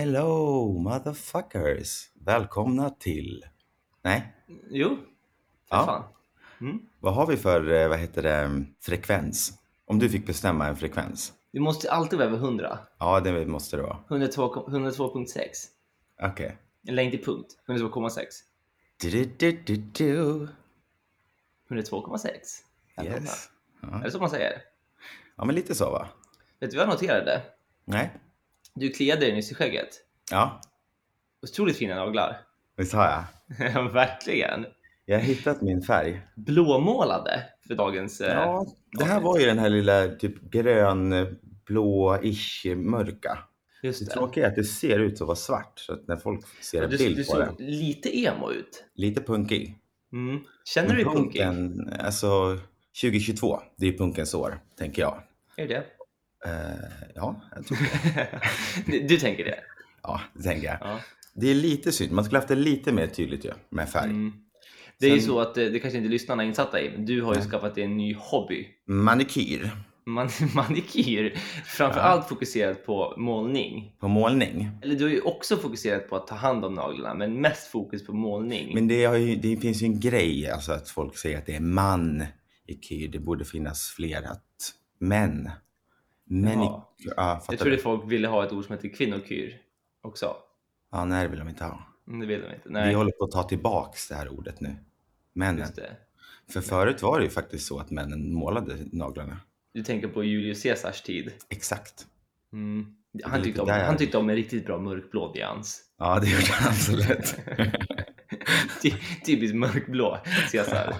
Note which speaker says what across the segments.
Speaker 1: Hello motherfuckers! Välkomna till... Nej,
Speaker 2: Jo, för
Speaker 1: Ja.
Speaker 2: fan. Mm.
Speaker 1: vad har vi för, eh, vad heter det, frekvens? Om du fick bestämma en frekvens?
Speaker 2: Vi måste alltid vara över 100.
Speaker 1: Ja, det måste det vara.
Speaker 2: 102 102.6.
Speaker 1: Okej.
Speaker 2: Eller inte punkt. 102,6.
Speaker 1: Du-du-du-du-du.
Speaker 2: 102,6. Välkomna.
Speaker 1: Yes.
Speaker 2: Är
Speaker 1: Ja.
Speaker 2: det så man säger?
Speaker 1: ja, men lite så va?
Speaker 2: Vet du vad jag noterade?
Speaker 1: Nej?
Speaker 2: Du kliade dig nyss i skägget.
Speaker 1: Ja,
Speaker 2: Otroligt fina naglar.
Speaker 1: visst har jag?
Speaker 2: Ja, Verkligen.
Speaker 1: Jag har hittat min färg.
Speaker 2: Blåmålade för dagens... eh,
Speaker 1: Ja, det här var ju den här lilla typ grön, blå-ish, eh, mörka. Det
Speaker 2: just det.
Speaker 1: tråkiga är att det ser ut att vara svart, så att när folk ser en
Speaker 2: Du,
Speaker 1: bild
Speaker 2: du
Speaker 1: på den,
Speaker 2: såg lite emo ut.
Speaker 1: lite punkig.
Speaker 2: Mm. Känner du dig punkig? Är
Speaker 1: Punken, alltså 2022, det är punkens år, tänker jag.
Speaker 2: det det?
Speaker 1: Eh, ja, jag tror,
Speaker 2: du, du tänker det?
Speaker 1: ja, det tänker jag.
Speaker 2: Ja.
Speaker 1: Det är lite synd, man skulle haft det lite mer tydligt ju, med färg.
Speaker 2: Mm. Det är ju
Speaker 1: Sen-
Speaker 2: så att eh, det kanske inte lyssnarna är insatta i, men du har ju
Speaker 1: Nej.
Speaker 2: skaffat dig en ny hobby.
Speaker 1: Manikyr
Speaker 2: Man, manikyr. Framförallt fokuserat på målning.
Speaker 1: på målning.
Speaker 2: Eller du har ju också fokuserat på att ta hand om naglarna, men mest fokus på målning.
Speaker 1: Men det, har ju, det finns ju en grej, alltså att folk säger att det är man i kyr. Det borde finnas fler att män. Män
Speaker 2: Ja.
Speaker 1: i, ja, fattar
Speaker 2: jag trodde
Speaker 1: du?
Speaker 2: folk ville ha ett ord som heter kvinnokyr också.
Speaker 1: Ja, nej, det vill de inte ha.
Speaker 2: Men det vill de inte.
Speaker 1: Vi
Speaker 2: Nej,
Speaker 1: håller på att ta tillbaks det här ordet nu. Männen.
Speaker 2: just det.
Speaker 1: För förut var det ju faktiskt så att männen målade naglarna.
Speaker 2: Du tänker på Julius Caesars tid.
Speaker 1: Exakt.
Speaker 2: Mm.
Speaker 1: är
Speaker 2: Han,
Speaker 1: lite
Speaker 2: tyckte om,
Speaker 1: där.
Speaker 2: han tyckte om en riktigt bra mörkblå nyans.
Speaker 1: Ja, det gjorde han absolut.
Speaker 2: Ty, typiskt mörkblå Caesar.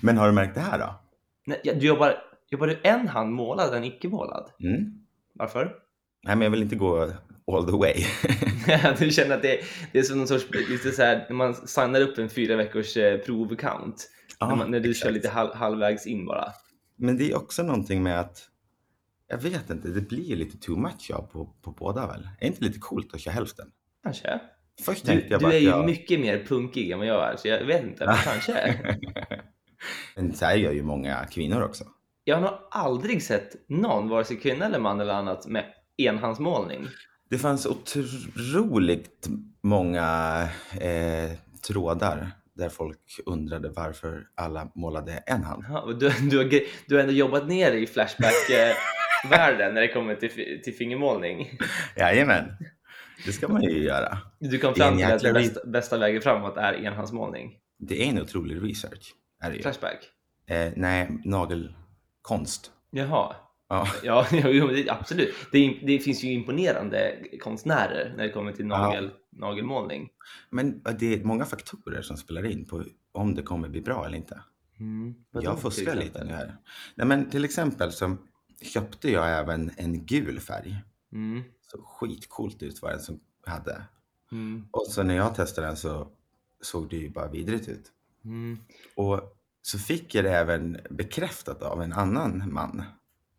Speaker 1: Men har du märkt det här då?
Speaker 2: Nej, jag- du jobbar, jobbar du en hand målad, en icke målad?
Speaker 1: Mm?
Speaker 2: Varför?
Speaker 1: Nej, men jag vill inte gå all the way.
Speaker 2: du känner att det, det är som någon sorts, lite så här, när man signar upp en fyra veckors eh, provkant. när,
Speaker 1: Ja,
Speaker 2: man, när du kör
Speaker 1: exakt.
Speaker 2: lite halv, halvvägs in bara.
Speaker 1: Men det är också någonting med att jag vet inte, det blir lite too much ja, på, på båda väl? Är inte lite coolt att köra hälften?
Speaker 2: Kanske.
Speaker 1: Först
Speaker 2: Du,
Speaker 1: tänkte jag
Speaker 2: du
Speaker 1: bara
Speaker 2: är
Speaker 1: att
Speaker 2: ju
Speaker 1: jag...
Speaker 2: mycket mer punkig än vad jag är, så jag vet inte. Men kanske.
Speaker 1: Men så här gör ju många kvinnor också.
Speaker 2: Jag har nog aldrig sett någon, vare sig kvinna eller man eller annat, med enhandsmålning.
Speaker 1: Det fanns otroligt många eh, trådar där folk undrade varför alla målade en hand.
Speaker 2: Ja, och Du, du, har, gre- du har ändå jobbat ner dig i Flashback-världen när det kommer till, fi- till fingermålning.
Speaker 1: Jajamän, det ska man ju göra.
Speaker 2: Du kom
Speaker 1: Det är en
Speaker 2: fram till att den
Speaker 1: jäkla
Speaker 2: bästa, bästa vägen framåt är enhandsmålning.
Speaker 1: Det är en otrolig research. Är det ju.
Speaker 2: Flashback.
Speaker 1: Eh, nej, nagelkonst.
Speaker 2: Jaha.
Speaker 1: Ja.
Speaker 2: Ja, jo, jo, det, absolut. Det, är- det finns ju imponerande konstnärer när det kommer till nagel, nagelmålning.
Speaker 1: Men det är många faktorer som spelar in på om det kommer bli bra eller inte.
Speaker 2: Mm. Vadå,
Speaker 1: jag
Speaker 2: till
Speaker 1: fuskar
Speaker 2: exempel?
Speaker 1: lite nu här. Nej, men till exempel så köpte jag även en gul färg.
Speaker 2: Mm.
Speaker 1: Så skitcoolt ut var den som hade.
Speaker 2: Mm.
Speaker 1: Och så när jag testade den så såg det ju bara vidrigt ut.
Speaker 2: Mm.
Speaker 1: Och så fick jag det även bekräftat av en annan man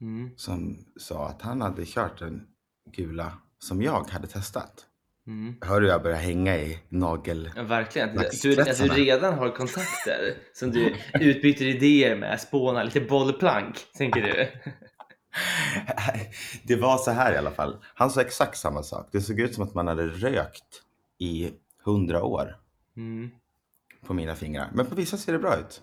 Speaker 2: Mm.
Speaker 1: som sa att han hade kört den gula som jag hade testat.
Speaker 2: Mm.
Speaker 1: Hör du, jag börjar hänga i nagel...
Speaker 2: Ja, verkligen. Du, du, att du
Speaker 1: Nackspetsarna.
Speaker 2: redan har kontakter som du utbyter idéer med, spånar, lite bollplank, tänker du.
Speaker 1: Det var så här i alla fall. Han sa exakt samma sak. Det såg ut som att man hade rökt i hundra år
Speaker 2: Mm.
Speaker 1: på mina fingrar. Men på vissa ser det bra ut.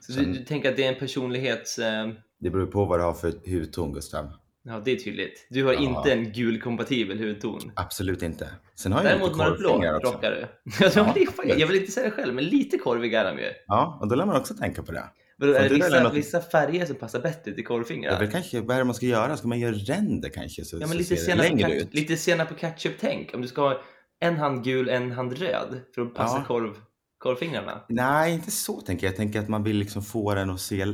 Speaker 2: Så du, du tänker att det är en personlighets... Eh,
Speaker 1: Det beror på vad du har för hudton, Gustav.
Speaker 2: ja, det är tydligt. Du har
Speaker 1: Ja.
Speaker 2: inte en gulkompatibel hudton.
Speaker 1: Absolut inte. Sen har jag lite
Speaker 2: Däremot mörkblå
Speaker 1: korvfingrar också.
Speaker 2: rockar du. Ja, de
Speaker 1: Ja,
Speaker 2: blir fan-
Speaker 1: absolut.
Speaker 2: jag vill inte säga det själv, men lite korviga är de ju.
Speaker 1: Ja, och då lär man också tänka på det.
Speaker 2: Men då
Speaker 1: Fan,
Speaker 2: är det
Speaker 1: du lär
Speaker 2: vissa,
Speaker 1: något-
Speaker 2: vissa färger som passar bättre till
Speaker 1: Ja.
Speaker 2: korvfingrar?
Speaker 1: Det är kanske vad är det man ska göra. Ska man göra ränder kanske? Så,
Speaker 2: Ja, men
Speaker 1: så
Speaker 2: lite
Speaker 1: ser det
Speaker 2: senap, på
Speaker 1: längre
Speaker 2: ketchup-
Speaker 1: ut.
Speaker 2: lite senap på ketchup-tänk. Om du ska ha en hand gul, en hand röd för att passa
Speaker 1: Ja.
Speaker 2: korv, korvfingrarna.
Speaker 1: Nej, inte så tänker jag. Jag tänker att man vill liksom få den att se... eh,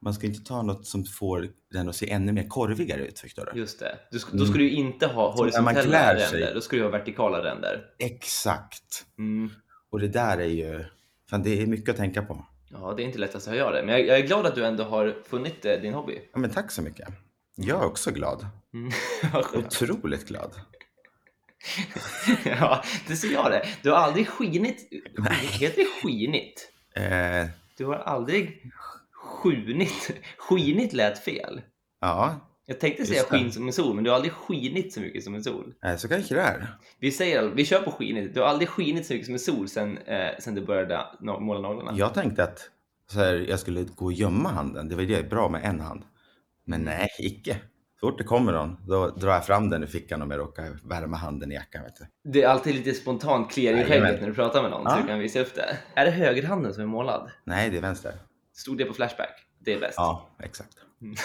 Speaker 1: Man ska inte ta något som får den att se ännu mer korvigare ut, förstår du?
Speaker 2: Just det. Du, sk- då
Speaker 1: Mm.
Speaker 2: ska du ju inte ha
Speaker 1: Så när man klär
Speaker 2: horisontella
Speaker 1: sig.
Speaker 2: ränder, då ska du ha vertikala ränder.
Speaker 1: Exakt.
Speaker 2: Mm.
Speaker 1: Och det där är ju... Fan, det är mycket att tänka på.
Speaker 2: Ja, det är inte lättast att höja det, men jag, jag är glad att du ändå har funnit eh, din hobby.
Speaker 1: Ja, men tack så mycket. Jag är också glad.
Speaker 2: Mm. Vad skönt.
Speaker 1: Otroligt glad.
Speaker 2: ja, det ser jag det. Du har aldrig skinit. skinit- Heter det skinit?
Speaker 1: Eh,
Speaker 2: Du har aldrig sjunit. Skinit lät fel.
Speaker 1: ja,
Speaker 2: Jag tänkte säga
Speaker 1: Just det.
Speaker 2: skinn som en sol, men du har aldrig skinit så mycket som en sol.
Speaker 1: Nej, eh, så kanske det är.
Speaker 2: Vi säger all- vi kör på skinit. Du har aldrig skinit så mycket som en sol sen, eh, sen du började no- måla naglarna.
Speaker 1: Jag tänkte att så här, jag skulle gå och gömma handen. Det var det, bra med en hand. Men nej, icke. Så fort det kommer någon, då drar jag fram den i fickan om jag råkar värma handen i jackan. Vet du.
Speaker 2: Det är alltid lite spontant kliar i skägget
Speaker 1: Jajamän.
Speaker 2: när du pratar med någon så
Speaker 1: Ja.
Speaker 2: du kan visa upp det. Är det högerhanden som är målad?
Speaker 1: Nej, det är vänster.
Speaker 2: Stod det på Flashback? Det är bäst.
Speaker 1: Ja, exakt.
Speaker 2: Mm.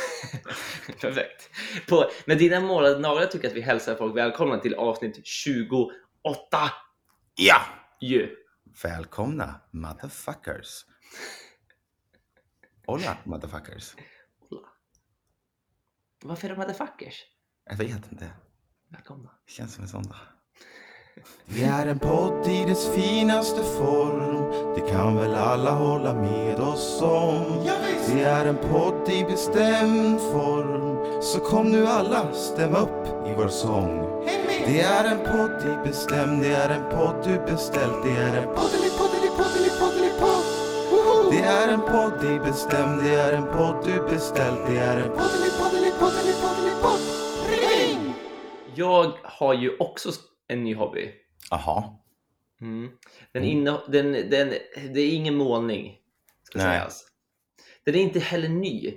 Speaker 2: Perfekt. På, med dina målade naglar tycker jag att vi hälsar folk välkomna till avsnitt 28
Speaker 1: Ja!
Speaker 2: ju.
Speaker 1: Välkomna, motherfuckers. Hola, motherfuckers.
Speaker 2: Varför är de motherfuckers?
Speaker 1: Jag vet inte.
Speaker 2: Välkomna.
Speaker 1: Det känns som en sån dag. Vi är en podd i dess finaste form. Det kan väl alla hålla med oss om. Vi är en podd i bestämd form. Så kom nu alla, stäm upp i vår sång. Det är en podd i bestämd, det är en podd du beställt. Det är en poddelipoddelipoddelipoddelipodd. Det är en podd i bestämd, det är en podd du beställt. Det är en poddelipoddelipoddelipoddelipodd. Ring!
Speaker 2: Jag har ju också en ny hobby.
Speaker 1: Aha.
Speaker 2: Mm. Den
Speaker 1: Mm.
Speaker 2: inne, den, den, det är ingen målning. Ska
Speaker 1: Nej.
Speaker 2: sägas. Den är inte heller ny om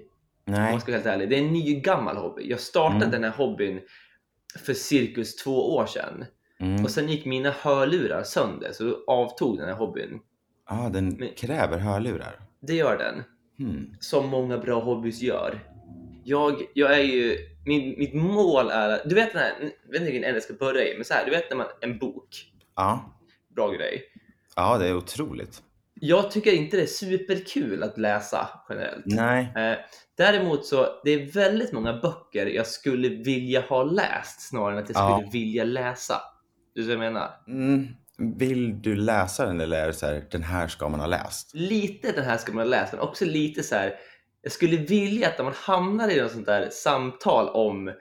Speaker 1: Nej.
Speaker 2: man ska vara helt ärlig. Det är en ny gammal hobby. Jag startade
Speaker 1: Mm.
Speaker 2: den här hobbyn för cirkus två år sedan.
Speaker 1: Mm.
Speaker 2: Och sen gick mina hörlurar sönder så då avtog den här hobbyn.
Speaker 1: Ja, den
Speaker 2: Men-
Speaker 1: kräver hörlurar.
Speaker 2: Det gör den.
Speaker 1: Hmm.
Speaker 2: Som många bra hobbys gör. Jag, jag är ju... Min, mitt mål är att... Du vet den här... Jag vet inte vilken ände jag ska börja i, men så här. Du vet när man... En bok.
Speaker 1: Ja.
Speaker 2: Bra grej.
Speaker 1: ja, det är otroligt.
Speaker 2: Jag tycker inte det är superkul att läsa generellt.
Speaker 1: Nej.
Speaker 2: Eh, däremot så, det är väldigt många böcker jag skulle vilja ha läst snarare än att jag
Speaker 1: Ja.
Speaker 2: skulle vilja läsa. Du ser vad jag menar?
Speaker 1: Mm. Vill du läsa den eller är det så här, den här ska man ha läst?
Speaker 2: Lite den här ska man ha läst, men också lite så här. jag skulle vilja att när man hamnar i något sånt där samtal om eh,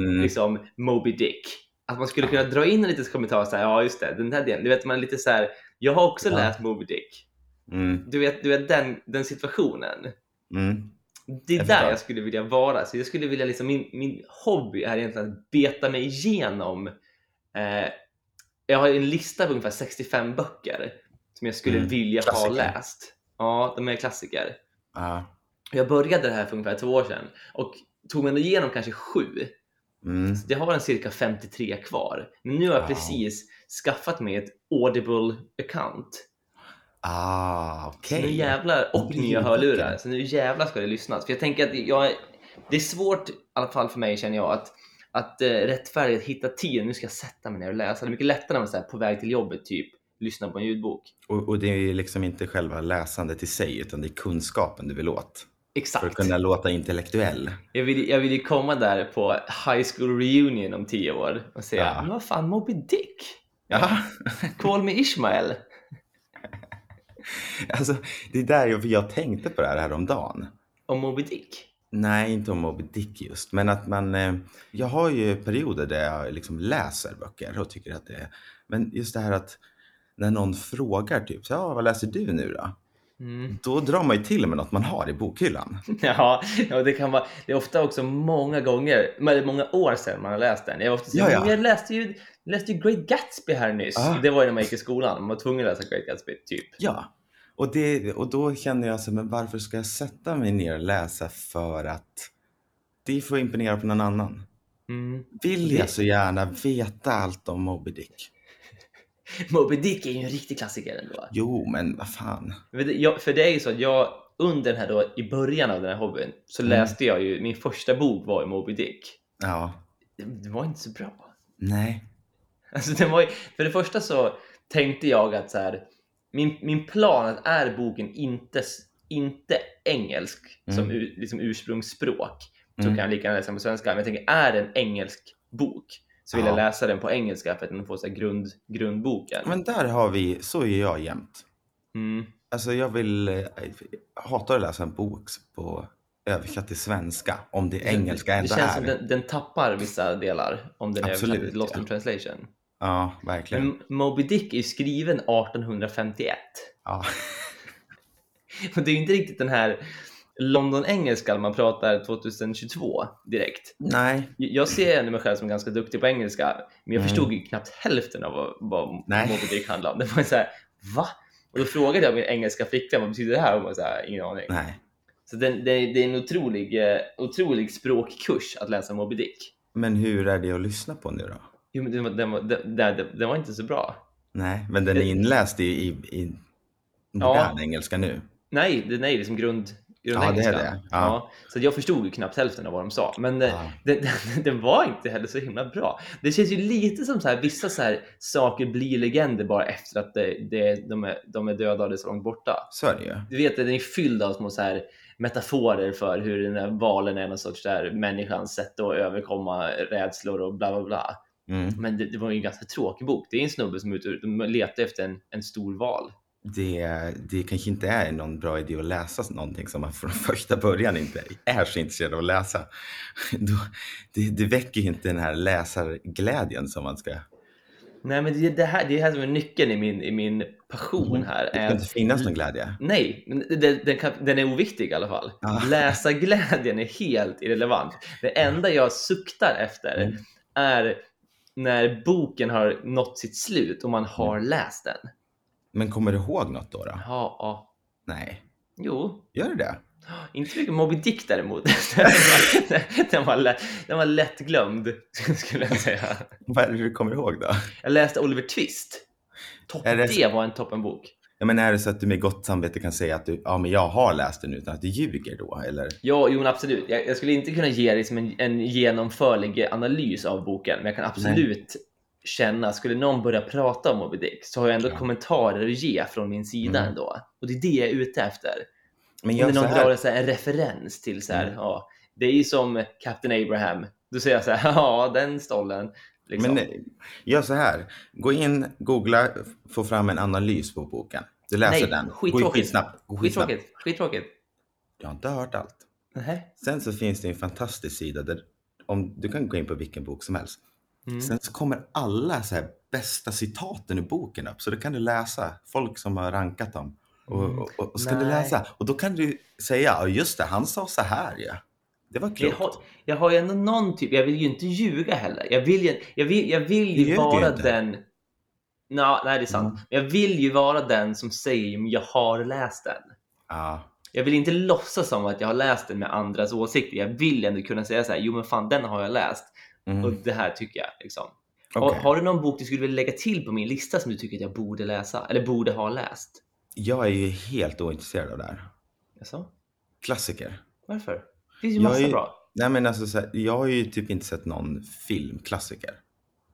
Speaker 1: Mm.
Speaker 2: liksom Moby Dick, att man skulle kunna dra in en liten kommentar så här, ja just det, den där delen, du vet man är lite så här, jag har också
Speaker 1: Ja.
Speaker 2: läst Moby Dick.
Speaker 1: Mm.
Speaker 2: Du vet, du vet den, den situationen.
Speaker 1: Mm.
Speaker 2: Det är
Speaker 1: Jag
Speaker 2: där
Speaker 1: förstår.
Speaker 2: jag skulle vilja vara. Så jag skulle vilja liksom, min, min hobby är egentligen att beta mig igenom. Eh, jag har ju en lista på ungefär 65 böcker som jag skulle
Speaker 1: Mm.
Speaker 2: vilja
Speaker 1: Klassiker.
Speaker 2: ha läst. Ja, de är klassiker.
Speaker 1: Ja.
Speaker 2: Jag började det här för ungefär två år sedan och tog mig ändå igenom kanske sju.
Speaker 1: Mm.
Speaker 2: Så jag har en cirka 53 kvar. Men nu har jag
Speaker 1: Wow.
Speaker 2: precis skaffat mig ett Audible account.
Speaker 1: Ah,
Speaker 2: Så
Speaker 1: okej.
Speaker 2: nu jävlar, och
Speaker 1: Blir
Speaker 2: nya
Speaker 1: det
Speaker 2: hörlurar.
Speaker 1: böcker?
Speaker 2: Så nu jävlar ska det lyssnas. För jag tänker att jag, det är svårt, i alla fall för mig känner jag, att, att eh, rättfärdigt hitta tiden. Nu ska jag sätta mig ner och läsa. Det är mycket lättare när man är så här, på väg till jobbet, typ lyssna på en ljudbok.
Speaker 1: Och, och det är ju liksom inte själva läsandet i sig utan det är kunskapen du vill åt. För att
Speaker 2: Exakt.
Speaker 1: kunna låta intellektuell.
Speaker 2: Jag vill, jag vill ju komma där på high school reunion om tio år och säga,
Speaker 1: Ja.
Speaker 2: men vad fan Moby Dick?
Speaker 1: Ja.
Speaker 2: Call me Ishmael.
Speaker 1: Alltså, det är där jag, för jag tänkte på det här häromdagen.
Speaker 2: Om Moby Dick.
Speaker 1: Nej, inte om Moby Dick just, men att man... eh, Jag har ju perioder där jag liksom läser böcker och tycker att det är... Men just det här att när någon frågar typ, så, ja, vad läser du nu då?
Speaker 2: Mm.
Speaker 1: Då drar man ju till med något man har i bokhyllan.
Speaker 2: Ja, ja, det kan vara. Det är ofta också många gånger, men det är många år sedan man har läst den. Jag, var ofta, så,
Speaker 1: Ja, ja.
Speaker 2: "Men jag läste ju jag läste ju Great Gatsby här nyss.
Speaker 1: Ah.
Speaker 2: Det var ju när man gick i skolan. Man var tvungen att läsa Great Gatsby, typ.
Speaker 1: Ja, och, det, och då känner jag så här, men varför ska jag sätta mig ner och läsa för att det får imponera på någon annan?
Speaker 2: Mm.
Speaker 1: Vill jag så gärna veta allt om Moby Dick?
Speaker 2: Moby Dick är ju en riktig klassiker ändå.
Speaker 1: Jo, men vad fan.
Speaker 2: Vet du, jag- För det är ju så att jag under den här då, i början av den här hobbyn, så
Speaker 1: Mm.
Speaker 2: läste jag ju, min första bok var ju Moby Dick.
Speaker 1: Ja,
Speaker 2: Det- Det var inte så bra.
Speaker 1: nej.
Speaker 2: Alltså det var ju, för det första så tänkte jag att så här, min, min plan att är boken inte, s- inte engelsk som
Speaker 1: Mm.
Speaker 2: u, liksom ursprungsspråk så
Speaker 1: Mm.
Speaker 2: kan jag lika gärna läsa den på svenska. Men jag tänker, är det en engelsk bok så vill jag
Speaker 1: Ja.
Speaker 2: läsa den på engelska för att den får så här grund, grundboken.
Speaker 1: Men där har vi, så är jag jämt.
Speaker 2: Mm.
Speaker 1: Alltså jag vill, eh, hatar att läsa en bok på översatt till svenska om det är engelska
Speaker 2: det
Speaker 1: ändå
Speaker 2: känns
Speaker 1: är.
Speaker 2: som den, den tappar vissa delar om den är
Speaker 1: Absolut,
Speaker 2: översatt till lost
Speaker 1: ja.
Speaker 2: in translation.
Speaker 1: Ja, verkligen.
Speaker 2: Men Moby Dick är ju skriven 1851.
Speaker 1: Ja.
Speaker 2: Och det är ju inte riktigt den här London-engelska när man pratar 2022 direkt.
Speaker 1: Nej.
Speaker 2: Jag ser ändå mig själv som ganska duktig på engelska, men jag
Speaker 1: Mm.
Speaker 2: förstod ju knappt hälften av vad, vad
Speaker 1: Nej.
Speaker 2: Moby Dick handlade om. Det var ju så här, va? Och då frågade jag min engelska flickvän, vad betyder det här? Och hon var så här, ingen aning.
Speaker 1: Nej.
Speaker 2: Så det, det, det är en otrolig, eh, otrolig språkkurs att läsa Moby Dick.
Speaker 1: Men hur är det att lyssna på nu då?
Speaker 2: Jo, men den, var- den, var- den, den, den var inte så bra.
Speaker 1: Nej, men den är inläst i, i, i modern engelska nu.
Speaker 2: Nej, det, nej, det är som grund,
Speaker 1: Ja, det
Speaker 2: grundengelska.
Speaker 1: är det. Ja.
Speaker 2: så att jag förstod ju knappt hälften av vad de sa. Men eh,
Speaker 1: Ja.
Speaker 2: Den, den, den var inte heller så himla bra. Det känns ju lite som så här, vissa så här, saker blir legender bara efter att det, det, de, är, de är döda och det är så långt borta.
Speaker 1: Så är det ju.
Speaker 2: Du vet, den är fylld av små så här, metaforer för hur den här valen är någon sorts där, människans sätt att överkomma rädslor och bla bla bla.
Speaker 1: Mm.
Speaker 2: Men det, det var ju en ganska tråkig bok. Det är en snubbe som är ute och letar efter en, en stor val.
Speaker 1: Det, det kanske inte är någon bra idé att läsa någonting som man från första början inte är så intresserad av att läsa. Då, det, det väcker ju inte den här läsarglädjen som man ska...
Speaker 2: Nej, men det är det här, det är här som är nyckeln i min, i min passion här.
Speaker 1: Mm. Det
Speaker 2: är
Speaker 1: ska
Speaker 2: att-
Speaker 1: inte finnas någon glädje.
Speaker 2: Nej, men den, den, kan, den är oviktig i alla fall.
Speaker 1: Ja.
Speaker 2: Läsarglädjen är helt irrelevant. Det enda jag suktar efter
Speaker 1: Mm.
Speaker 2: är när boken har nått sitt slut och man
Speaker 1: Mm.
Speaker 2: har läst den.
Speaker 1: Men kommer du ihåg något då? då?
Speaker 2: Ja, ja.
Speaker 1: Nej.
Speaker 2: Jo,
Speaker 1: Gör du det?
Speaker 2: inte så mycket Moby Dick däremot. den, var, den, var lätt, den var lättglömd, skulle jag säga.
Speaker 1: Vad är det du kommer ihåg då?
Speaker 2: Jag läste Oliver Twist. Topp,
Speaker 1: Är det-
Speaker 2: det... var en toppenbok.
Speaker 1: Ja, men är det så att du med gott samvete kan säga att du, ja, men jag har läst den utan att du ljuger då? Eller?
Speaker 2: Ja, jo, men absolut. Jag, jag skulle inte kunna ge dig som en, en genomförlig analys av boken, men jag kan absolut känna, skulle någon börja prata om Moby Dick så har jag ändå
Speaker 1: Ja.
Speaker 2: kommentarer att ge från min sida
Speaker 1: Mm.
Speaker 2: ändå. Och det är det jag är ute efter.
Speaker 1: Men
Speaker 2: Om
Speaker 1: gör
Speaker 2: det
Speaker 1: så
Speaker 2: någon drar
Speaker 1: här.
Speaker 2: en, så här, en referens till så här,
Speaker 1: Mm.
Speaker 2: ja, det är ju som Captain Abraham. Då säger jag så här, ja, den stollen. Liksom.
Speaker 1: Men eh, gör så här. Gå in, googla, få fram en analys på boken. Du läser
Speaker 2: Nej,
Speaker 1: den. Gå in
Speaker 2: skittråkigt.
Speaker 1: skitsnabbt. Gå skitsnabbt.
Speaker 2: skittråkigt. Skittråkigt.
Speaker 1: Jag har inte hört allt.
Speaker 2: Nähä.
Speaker 1: Sen så finns det en fantastisk sida där om, du kan gå in på vilken bok som helst.
Speaker 2: Mm.
Speaker 1: Sen så kommer alla så här bästa citaten ur boken upp. Så då kan du läsa folk som har rankat dem. Och,
Speaker 2: Mm.
Speaker 1: och, och, och ska du
Speaker 2: Nej.
Speaker 1: läsa. Och då kan du säga, ja just det, han sa så här ja. Det var
Speaker 2: Jag
Speaker 1: klokt.
Speaker 2: har, jag har ju ändå någon typ, jag vill ju inte ljuga heller. Jag vill ju, jag vill, jag vill
Speaker 1: Du ljuger
Speaker 2: ju
Speaker 1: ju
Speaker 2: vara
Speaker 1: inte.
Speaker 2: den... Nå, nej, det är sant.
Speaker 1: Mm.
Speaker 2: Jag vill ju vara den som säger "Men jag har läst den.
Speaker 1: Ja.
Speaker 2: Jag vill inte låtsas som att jag har läst den med andras åsikter. Jag vill ändå kunna säga så här, jo men fan den har jag läst
Speaker 1: Mm.
Speaker 2: och det här tycker jag. Liksom. Har,
Speaker 1: Okej.
Speaker 2: har du någon bok du skulle vilja lägga till på min lista som du tycker att jag borde läsa? Eller borde ha läst?
Speaker 1: Jag är ju helt ointresserad av det här.
Speaker 2: Jaså?
Speaker 1: Klassiker.
Speaker 2: Varför? Det finns ju
Speaker 1: Jag
Speaker 2: massa
Speaker 1: är-
Speaker 2: bra.
Speaker 1: Nej men alltså, så här, jag har ju typ inte sett någon filmklassiker.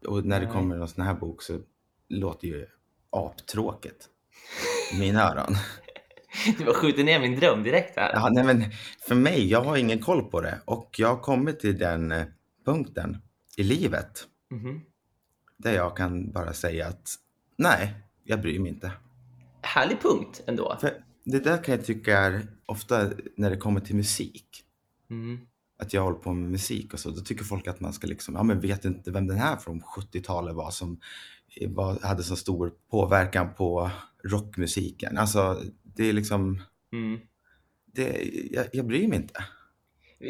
Speaker 1: Och när det
Speaker 2: Nej.
Speaker 1: kommer någon sån här bok så låter ju aptråkigt. I mina öron.
Speaker 2: Du bara skjuter ner min dröm direkt här.
Speaker 1: Ja, nej, men för mig, jag har ingen koll på det. Och jag har kommit till den eh, punkten i livet
Speaker 2: Mhm.
Speaker 1: där jag kan bara säga att nej, jag bryr mig inte.
Speaker 2: Härlig punkt ändå.
Speaker 1: För det där kan jag tycka är ofta när det kommer till musik.
Speaker 2: Mm.
Speaker 1: Att jag håller på med musik och så. Då tycker folk att man ska liksom, ja men vet inte vem den här från 70-talet var som eh, var, hade så stor påverkan på rockmusiken. Alltså, det är liksom,
Speaker 2: Mm.
Speaker 1: det, jag, jag bryr mig inte.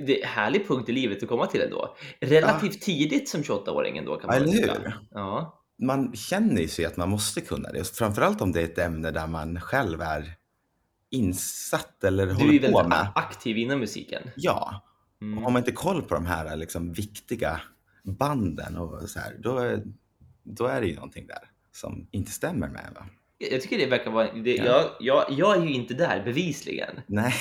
Speaker 2: Det är härlig punkt i livet att komma till ändå. Relativt tidigt som 28-åring ändå kan man
Speaker 1: Eller
Speaker 2: väl säga.
Speaker 1: hur?
Speaker 2: Ja.
Speaker 1: man känner ju sig att man måste kunna det. Framförallt om det är ett ämne där man själv är insatt eller
Speaker 2: Du är ju
Speaker 1: håller på
Speaker 2: väldigt
Speaker 1: med.
Speaker 2: aktiv inom musiken.
Speaker 1: Ja,
Speaker 2: Mm.
Speaker 1: har man inte koll på de här liksom, viktiga banden och så här, då, är- då är det ju någonting där som inte stämmer med. Va?
Speaker 2: Jag tycker det verkar vara... Det,
Speaker 1: Ja.
Speaker 2: jag, jag, jag är ju inte där bevisligen.
Speaker 1: Nej,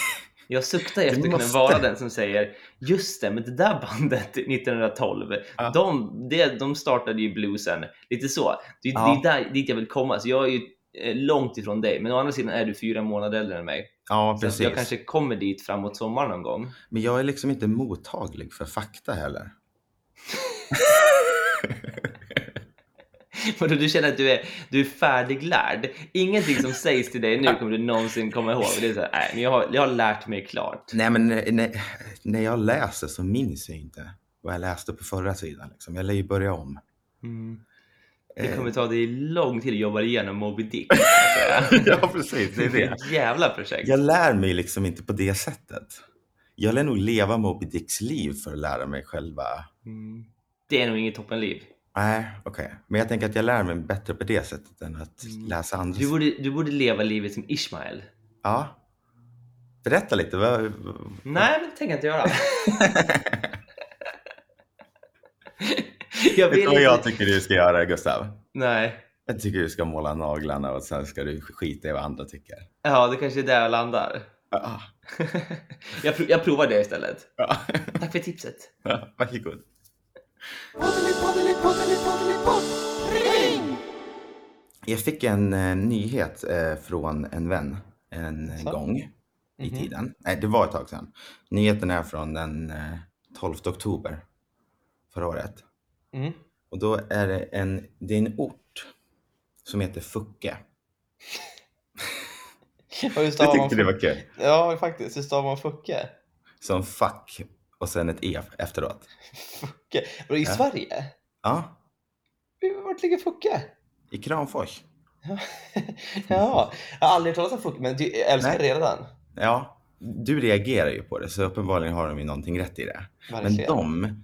Speaker 2: Jag suktar efter att kunna
Speaker 1: måste.
Speaker 2: vara den som säger just det, men det där bandet 1912,
Speaker 1: Ja.
Speaker 2: de, det, de startade ju bluesen. Lite så. Det,
Speaker 1: Ja.
Speaker 2: det är där, dit jag vill komma. Så jag är ju eh, långt ifrån dig. Men å andra sidan är du fyra månader äldre än mig.
Speaker 1: ja
Speaker 2: Så att
Speaker 1: precis.
Speaker 2: jag kanske kommer dit framåt sommaren någon gång.
Speaker 1: Men jag är liksom inte mottaglig för fakta heller.
Speaker 2: Vadå, du känner att du är, du är färdiglärd? Ingenting som sägs till dig nu kommer du någonsin komma ihåg. Det är så här, nej, men jag har, jag har lärt mig klart.
Speaker 1: Nej, men när- när- när jag läser så minns jag inte vad jag läste på förra sidan. Liksom. Jag lär ju börja om.
Speaker 2: Det kommer ta dig lång tid att jobba igenom Moby Dick.
Speaker 1: ja, precis. Det är det.
Speaker 2: Ett jävla projekt.
Speaker 1: Jag lär mig liksom inte på det sättet. Jag lär nog leva Moby Dicks liv för att lära mig själva.
Speaker 2: Mm. Det är nog inget toppenliv.
Speaker 1: Nej, okej. Men jag tänker att jag lär mig bättre på det sättet än att
Speaker 2: Mm.
Speaker 1: läsa andra.
Speaker 2: Du borde, du borde leva livet som Ishmael.
Speaker 1: Ja. Berätta lite. Vad...
Speaker 2: Nej, men det tänker jag inte göra. jag
Speaker 1: Vet
Speaker 2: vill
Speaker 1: du vad jag
Speaker 2: inte.
Speaker 1: tycker du ska göra, Gustav?
Speaker 2: Nej.
Speaker 1: Jag tycker du ska måla naglarna och sen ska du skita i vad andra tycker.
Speaker 2: Ja, det kanske är där jag landar.
Speaker 1: Ja.
Speaker 2: jag, pro- jag provar det istället.
Speaker 1: Ja.
Speaker 2: Tack för tipset.
Speaker 1: Ja, Varsågod. Jag fick en eh, nyhet eh, från en vän en
Speaker 2: Så.
Speaker 1: gång i
Speaker 2: Mhm.
Speaker 1: tiden. Nej, det var ett tag sedan. Nyheten är från den eh, 12 oktober förra året.
Speaker 2: Mm.
Speaker 1: Och då är det en, det är en ort som heter Fucke.
Speaker 2: Och hur
Speaker 1: Jag
Speaker 2: stavar man
Speaker 1: tyckte det var kul.
Speaker 2: Ja, faktiskt. Hur stavar man fucke?
Speaker 1: Som fuck och sen ett e efteråt.
Speaker 2: fucke. Och i
Speaker 1: Ja.
Speaker 2: Sverige?
Speaker 1: Ja,
Speaker 2: Vart ligger fucke?
Speaker 1: i Kramfors.
Speaker 2: ja, jag har aldrig hört talas om fucke, men jag älskar det redan.
Speaker 1: Ja, du reagerar ju på det så uppenbarligen har de ju någonting rätt i det. Men
Speaker 2: Verkligen.
Speaker 1: de,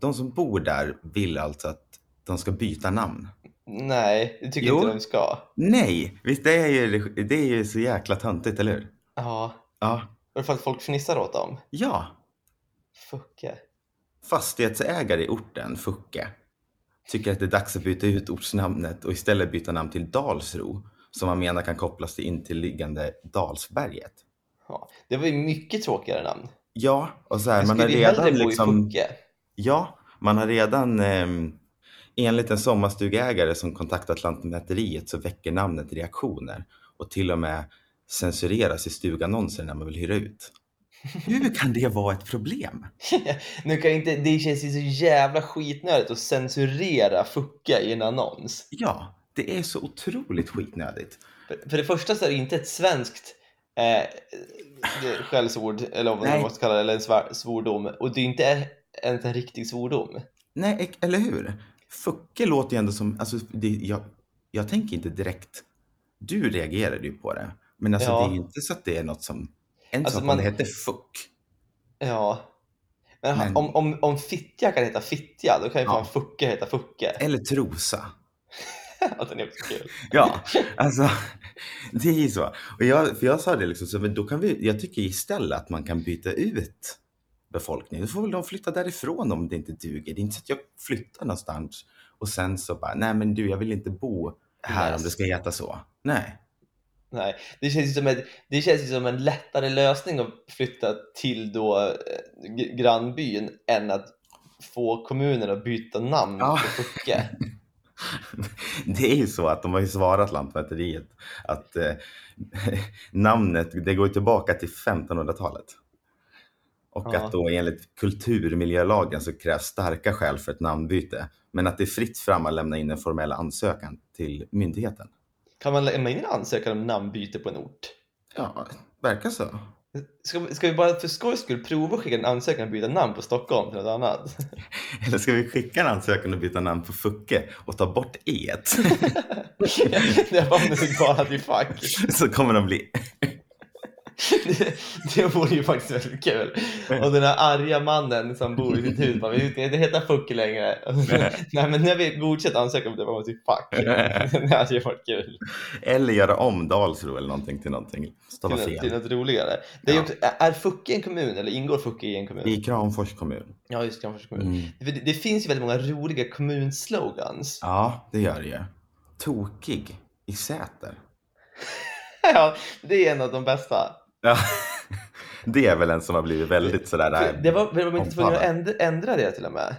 Speaker 1: de som bor där vill alltså att de ska byta namn.
Speaker 2: Nej, det tycker
Speaker 1: Jo.
Speaker 2: inte de ska.
Speaker 1: Nej, visst det är ju, det är ju så jäkla töntigt, eller hur?
Speaker 2: Ja,
Speaker 1: Ja.
Speaker 2: och för att folk fnissar åt dem.
Speaker 1: ja.
Speaker 2: Fucke.
Speaker 1: Fastighetsägare i orten, Fucke, tycker att det är dags att byta ut ortsnamnet och istället byta namn till Dalsro, som man menar kan kopplas till intilliggande Dalsberget.
Speaker 2: Ja, det var ju mycket tråkigare namn.
Speaker 1: Ja, och så här,
Speaker 2: Jag
Speaker 1: man har
Speaker 2: skulle ju hellre
Speaker 1: redan
Speaker 2: bo i
Speaker 1: liksom...
Speaker 2: Fucke.
Speaker 1: Ja, man har redan ehm, enligt en sommarstugägare som kontaktat Lantmäteriet så väcker namnet reaktioner och till och med censureras i stugannonser när man vill hyra ut. Hur kan det vara ett problem?
Speaker 2: Nu kan jag inte, det känns ju så jävla skitnödigt att censurera fucka i en annons.
Speaker 1: Ja, det är så otroligt skitnödigt.
Speaker 2: För, för det första så är det inte ett svenskt eh, det- skällsord, eller vad man
Speaker 1: Nej.
Speaker 2: måste kalla det, eller en svär, svordom. Och det är inte ens en riktig svordom.
Speaker 1: Nej, ek- eller hur? Fucke låter ju ändå som, alltså, det, jag, jag tänker inte direkt, du reagerade ju på det, men alltså,
Speaker 2: Ja.
Speaker 1: det är ju inte så att det är något som, en
Speaker 2: Alltså,
Speaker 1: sak
Speaker 2: man-
Speaker 1: man... heter fuck.
Speaker 2: Ja. Men, ha-
Speaker 1: Men-
Speaker 2: Om, om, om fittja kan heta fittja, då kan ju
Speaker 1: Ja.
Speaker 2: fan fucka heta fucka.
Speaker 1: Eller trosa.
Speaker 2: Att den är också kul.
Speaker 1: Ja, alltså det är ju så. Och jag, för jag sa det liksom, så, men då kan vi, jag tycker istället att man kan byta ut befolkningen. Då får väl de flytta därifrån om det inte duger. Det är inte så att jag flyttar någonstans och sen så bara, nej men du, jag vill inte bo här om det ska heta så. Nej.
Speaker 2: Nej, det känns ju som, ett, det känns ju som en lättare lösning att flytta till då eh, gr- grannbyn än att få kommunen att byta namn
Speaker 1: Ja.
Speaker 2: på Fucke.
Speaker 1: Det är ju så att de har ju svarat Lantmäteriet att eh, namnet, det går ju tillbaka till 1500-talet. Och
Speaker 2: Ja.
Speaker 1: att då enligt kulturmiljölagen så krävs starka skäl för ett namnbyte. Men att det är fritt fram att lämna in en formell ansökan till myndigheten.
Speaker 2: Kan man lämna in en ansökan om namnbyte på en ort?
Speaker 1: Ja, verkar så.
Speaker 2: Ska, vi- ska vi bara för skojs skull prova att skicka en ansökan att byta namn på Stockholm till något annat?
Speaker 1: Eller ska vi skicka en ansökan och byta namn på Fucke och ta bort e
Speaker 2: det var nu bara till fuck.
Speaker 1: så kommer de bli...
Speaker 2: Det, det vore ju faktiskt väldigt kul. Och den här arga mannen som bor i sitt hus bara, vi kan inte heta Fuck längre. Och så, Nej men när vi godkänt ansökan det var till fuck. Det hade ju varit kul.
Speaker 1: eller göra om Dalsro eller någonting till någonting. Stava
Speaker 2: Till, något- till
Speaker 1: fel.
Speaker 2: något roligare. Det är, ju
Speaker 1: Ja.
Speaker 2: också, är Fucke en kommun eller ingår Fucke i en kommun?
Speaker 1: I Mm. Kramfors kommun.
Speaker 2: Ja, just Kramfors kommun. För det, det finns ju väldigt många roliga kommunslogans.
Speaker 1: Ja, det gör det ju. Tokig i Säter.
Speaker 2: Ja, det är en av de bästa.
Speaker 1: Ja. Det är väl en som har blivit väldigt sådär...
Speaker 2: För
Speaker 1: Äh,
Speaker 2: Det var, var man inte tvungen att
Speaker 1: omfamnad.
Speaker 2: ändra, ändra det till och med?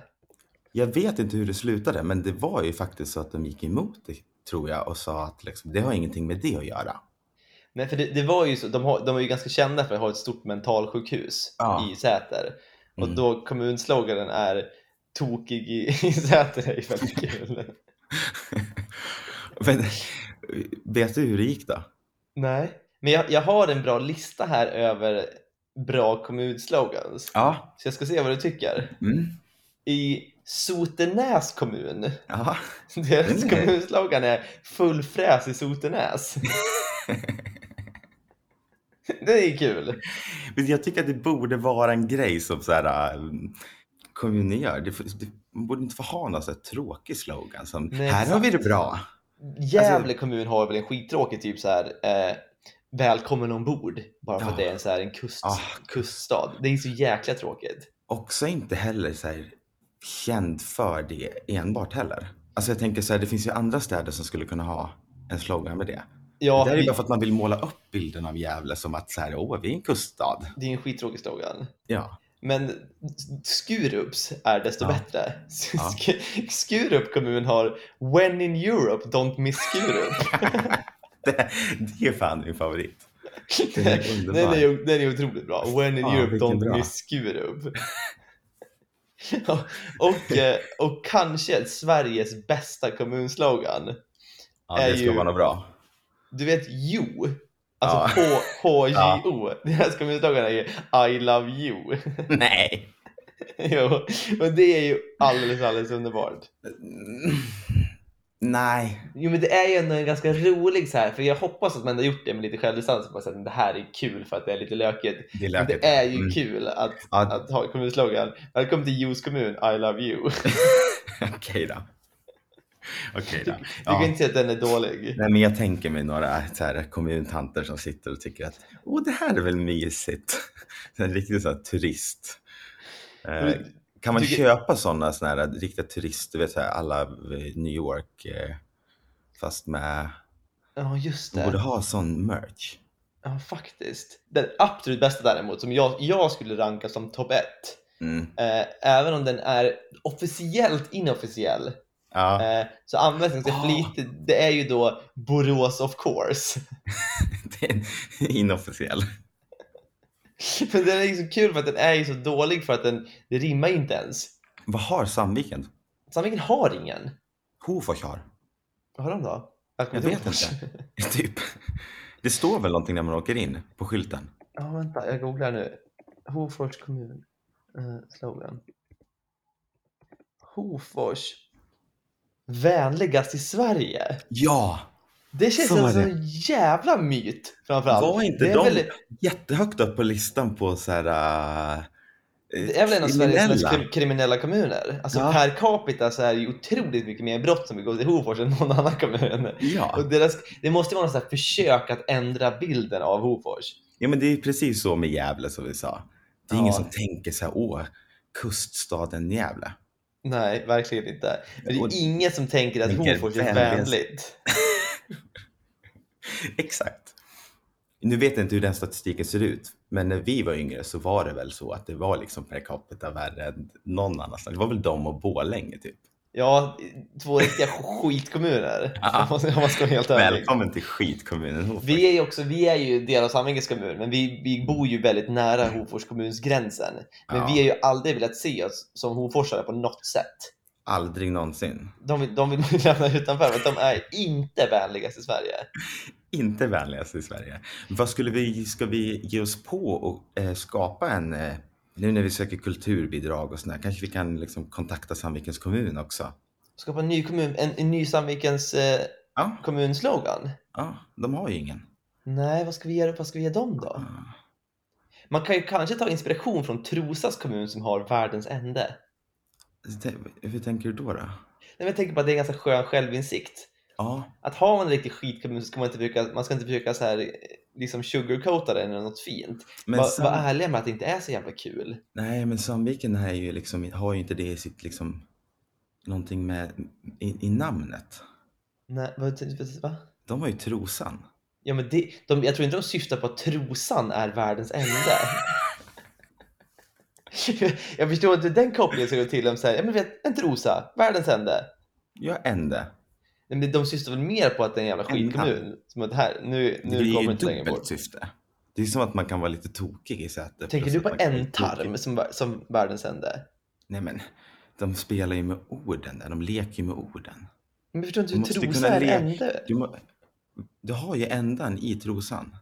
Speaker 1: Jag vet inte hur det slutade, men det var ju faktiskt så att de gick emot det, tror jag, och sa att liksom, det har ingenting med det att göra.
Speaker 2: Nej, för det, det var ju så, de, har, de är ju ganska kända för att ha ett stort mentalsjukhus
Speaker 1: Ja.
Speaker 2: i Säter. Och
Speaker 1: Mm.
Speaker 2: då kommunsloganen är tokig i, i Säter är ju väldigt kul.
Speaker 1: Men, eh, vet du hur det gick då?
Speaker 2: Nej, men jag, jag har en bra lista här över bra kommunslogans.
Speaker 1: Ja.
Speaker 2: Så jag ska se vad du tycker.
Speaker 1: Mm.
Speaker 2: I Sotenäs kommun.
Speaker 1: Ja,
Speaker 2: Deras
Speaker 1: Nej.
Speaker 2: kommunslogan är full fräs i Sotenäs. det är kul.
Speaker 1: men jag tycker att det borde vara en grej som så här, äh, kommuner gör. Det, får- det, man borde inte få ha någon så här tråkig slogan som
Speaker 2: Nej,
Speaker 1: “Här har vi det
Speaker 2: exakt.
Speaker 1: bra”. Alltså-
Speaker 2: Gävle kommun har väl en skittråkig typ så här eh, välkommen ombord bara för att
Speaker 1: Ja.
Speaker 2: det är en, så här, en kust,
Speaker 1: Ah.
Speaker 2: kuststad. Det är så jäkla tråkigt.
Speaker 1: Också inte heller så här, känd för det enbart heller. Alltså jag tänker så här, det finns ju andra städer som skulle kunna ha en slogan med det.
Speaker 2: Ja,
Speaker 1: det här är
Speaker 2: vi-
Speaker 1: ju bara för att man vill måla upp bilden av Gävle som att så här, åh, vi är en kuststad.
Speaker 2: det är en skittråkig slogan.
Speaker 1: Ja,
Speaker 2: Men Skurups är desto
Speaker 1: Ja.
Speaker 2: bättre.
Speaker 1: Ja.
Speaker 2: Sk- Skurup kommun har When in Europe, don't miss Skurup.
Speaker 1: det, det är fan min favorit. Den
Speaker 2: den,
Speaker 1: är underbar.
Speaker 2: är, ju- den är otroligt bra. When in
Speaker 1: Fan,
Speaker 2: Europe,
Speaker 1: vilken
Speaker 2: don't
Speaker 1: bra.
Speaker 2: miss Skurup. Ja, och, eh, och kanske Sveriges bästa kommunslogan.
Speaker 1: Ja, det
Speaker 2: är
Speaker 1: ska
Speaker 2: ju-
Speaker 1: vara något bra.
Speaker 2: Du vet Jo, alltså H-H-J-O. Deras kommunslogan är ju I love you.
Speaker 1: Nej.
Speaker 2: jo, men det är ju alldeles, alldeles underbart.
Speaker 1: Mm. Nej.
Speaker 2: Jo men det är ju ändå en ganska rolig så här, för jag hoppas att man har gjort det med lite självdistans och bara sagt att det här är kul för att det är lite lökigt.
Speaker 1: Det är,
Speaker 2: Men
Speaker 1: lökigt.
Speaker 2: det är ju
Speaker 1: Mm.
Speaker 2: kul att,
Speaker 1: Ja,
Speaker 2: att ha kommunslogan. Välkommen till Jos kommun, I love you.
Speaker 1: Okej då. Okej då.
Speaker 2: Du kan
Speaker 1: Ja.
Speaker 2: inte säga att den är dålig.
Speaker 1: Nej, men jag tänker mig några äh, så här, kommuntanter som sitter och tycker att åh, det här är väl mysigt. En riktig sån här turist. Eh,
Speaker 2: Men
Speaker 1: kan man
Speaker 2: tycker-
Speaker 1: köpa sådana såna här riktiga turist, du vet så här, alla eh, New York eh, fast med,
Speaker 2: Ja just
Speaker 1: de borde
Speaker 2: det,
Speaker 1: ha sån merch.
Speaker 2: ja faktiskt. Den absolut bästa däremot som jag, jag skulle ranka som topp ett,
Speaker 1: Mm.
Speaker 2: eh, även om den är officiellt inofficiell,
Speaker 1: Ja,
Speaker 2: eh, så används den ganska
Speaker 1: Ah.
Speaker 2: flitigt. Det är ju då Borås of course.
Speaker 1: det är inofficiell.
Speaker 2: Men den är ju så kul för att den är ju så dålig för att den det rimmar inte ens.
Speaker 1: Vad har Sandviken?
Speaker 2: Sandviken har ingen.
Speaker 1: Hofors har.
Speaker 2: Vad har de då?
Speaker 1: Jag vet inte. Typ. Det står väl någonting när man åker in på skylten?
Speaker 2: Ja, vänta, jag googlar nu. Hofors kommun. Eh, slogan. Hofors. Vänligast i Sverige.
Speaker 1: Ja!
Speaker 2: Det känns
Speaker 1: Så
Speaker 2: som
Speaker 1: är
Speaker 2: en sån jävla myt framförallt.
Speaker 1: Var inte
Speaker 2: det är
Speaker 1: de
Speaker 2: Väl,
Speaker 1: jättehögt upp på listan på så här... äh,
Speaker 2: det är väl en av Sveriges
Speaker 1: kriminella?
Speaker 2: mest krim- kriminella kommuner. Alltså
Speaker 1: Ja.
Speaker 2: per capita så är det ju otroligt mycket mer brott som begås i Hofors än någon annan kommun.
Speaker 1: Ja.
Speaker 2: Och deras, det måste vara något sånt här försök att ändra bilden av Hofors.
Speaker 1: ja, men det är precis så med Gävle som vi sa. Det är
Speaker 2: Ja.
Speaker 1: ingen som tänker så här, åh, kuststaden Gävle.
Speaker 2: Nej, verkligen inte. Men det
Speaker 1: Och-
Speaker 2: är ingen som tänker att
Speaker 1: Tänker
Speaker 2: Hofors är
Speaker 1: vänligast.
Speaker 2: vänligt.
Speaker 1: Exakt. Nu vet jag inte hur den statistiken ser ut, men när vi var yngre så var det väl så att det var liksom per capita värre än någon annanstans. Det var väl de och Borlänge typ.
Speaker 2: Ja, två riktiga skitkommuner.
Speaker 1: Ja.
Speaker 2: Om man- om man ska vara helt ärlig.
Speaker 1: Välkommen till skitkommunen Hofors.
Speaker 2: Vi är ju också, vi är ju del av Sandvikens kommun, men vi, vi bor ju väldigt nära Hofors kommuns gränsen. Men
Speaker 1: Ja.
Speaker 2: vi har ju aldrig velat se oss som Hoforsare på något sätt.
Speaker 1: Aldrig någonsin.
Speaker 2: De vill, de vill lämna utanför, men de är inte vänligast i Sverige.
Speaker 1: Inte vänligast i Sverige. Vad skulle vi, ska vi ge oss på och eh, skapa en, eh, nu när vi söker kulturbidrag och sådär, kanske vi kan liksom kontakta Sandvikens kommun också?
Speaker 2: Skapa en ny kommun, en, en ny Sandvikens eh,
Speaker 1: Ja,
Speaker 2: kommunslogan.
Speaker 1: ja de har ju ingen.
Speaker 2: Nej, vad ska vi göra? Vad ska vi ge dem då? Man kan ju kanske ta inspiration från Trosas kommun som har världens ände.
Speaker 1: Det- Hur tänker du då? då?
Speaker 2: Nej, men jag tänker på att det är en ganska skön självinsikt.
Speaker 1: Ja,
Speaker 2: Att har man en riktig skitkommun så ska man inte försöka, man ska inte försöka så här, eh, liksom sugarcoata den eller något fint.
Speaker 1: men,
Speaker 2: Va,
Speaker 1: Sand-
Speaker 2: Var ärliga med att det inte är så jävla kul.
Speaker 1: nej, men Sandviken är ju liksom, har ju inte det i sitt liksom, någonting med, i, i namnet.
Speaker 2: Nej, vad, va?
Speaker 1: De har ju Trosan.
Speaker 2: Ja, men det, de, jag tror inte de syftar på att Trosan är världens ände. jag förstår inte hur den kopplingen ska gå till. Om så här, ja, men vet, en trosa, världens ände.
Speaker 1: Ja, ände.
Speaker 2: Nej, men de syftar väl mer på att det är en jävla skitkommun. Som att här, nu,
Speaker 1: Det
Speaker 2: nu
Speaker 1: blir
Speaker 2: kommer
Speaker 1: ju
Speaker 2: vi inte längre bort.
Speaker 1: dubbelt syfte. Det är som att man kan vara lite tokig i Säter.
Speaker 2: Tänker
Speaker 1: plus
Speaker 2: du
Speaker 1: att
Speaker 2: på
Speaker 1: man kan vara
Speaker 2: en tarm
Speaker 1: tokig.
Speaker 2: som, som världens ände?
Speaker 1: Nej men, de spelar ju med orden där. De leker ju med orden.
Speaker 2: Men förstår inte
Speaker 1: Du
Speaker 2: hur
Speaker 1: måste
Speaker 2: trosa
Speaker 1: kunna
Speaker 2: är
Speaker 1: le-
Speaker 2: ände?
Speaker 1: Du, må, du har ju ändan i trosan.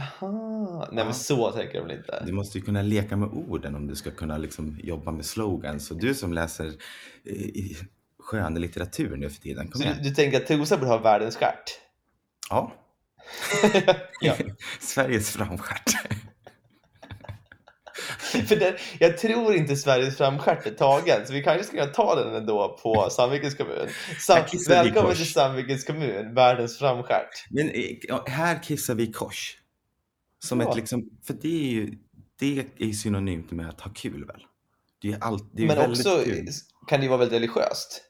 Speaker 2: Aha. Nej
Speaker 1: Ja.
Speaker 2: men så tänker de väl inte?
Speaker 1: Du måste ju kunna leka med orden om du ska kunna liksom jobba med slogans. Så du som läser eh, i skönlitteratur nu för tiden, kom
Speaker 2: Så du,
Speaker 1: igen.
Speaker 2: du tänker att Trosa borde ha världens stjärt?
Speaker 1: Ja.
Speaker 2: Ja.
Speaker 1: Sveriges framstjärt.
Speaker 2: För den, jag tror inte Sveriges framstjärt är tagen, så vi kanske ska kunna ta den ändå på Sandvikens kommun. Sam,
Speaker 1: Jag kissar i
Speaker 2: välkommen
Speaker 1: kors.
Speaker 2: till Sandvikens kommun, världens framstjärt.
Speaker 1: Men eh, ja, här kissar vi i kors. Som
Speaker 2: Ja.
Speaker 1: ett liksom, för det är ju det är ju synonymt med att ha kul väl? Det är ju allt, det är ju
Speaker 2: Men
Speaker 1: väldigt
Speaker 2: också
Speaker 1: kul.
Speaker 2: kan det ju vara väldigt religiöst.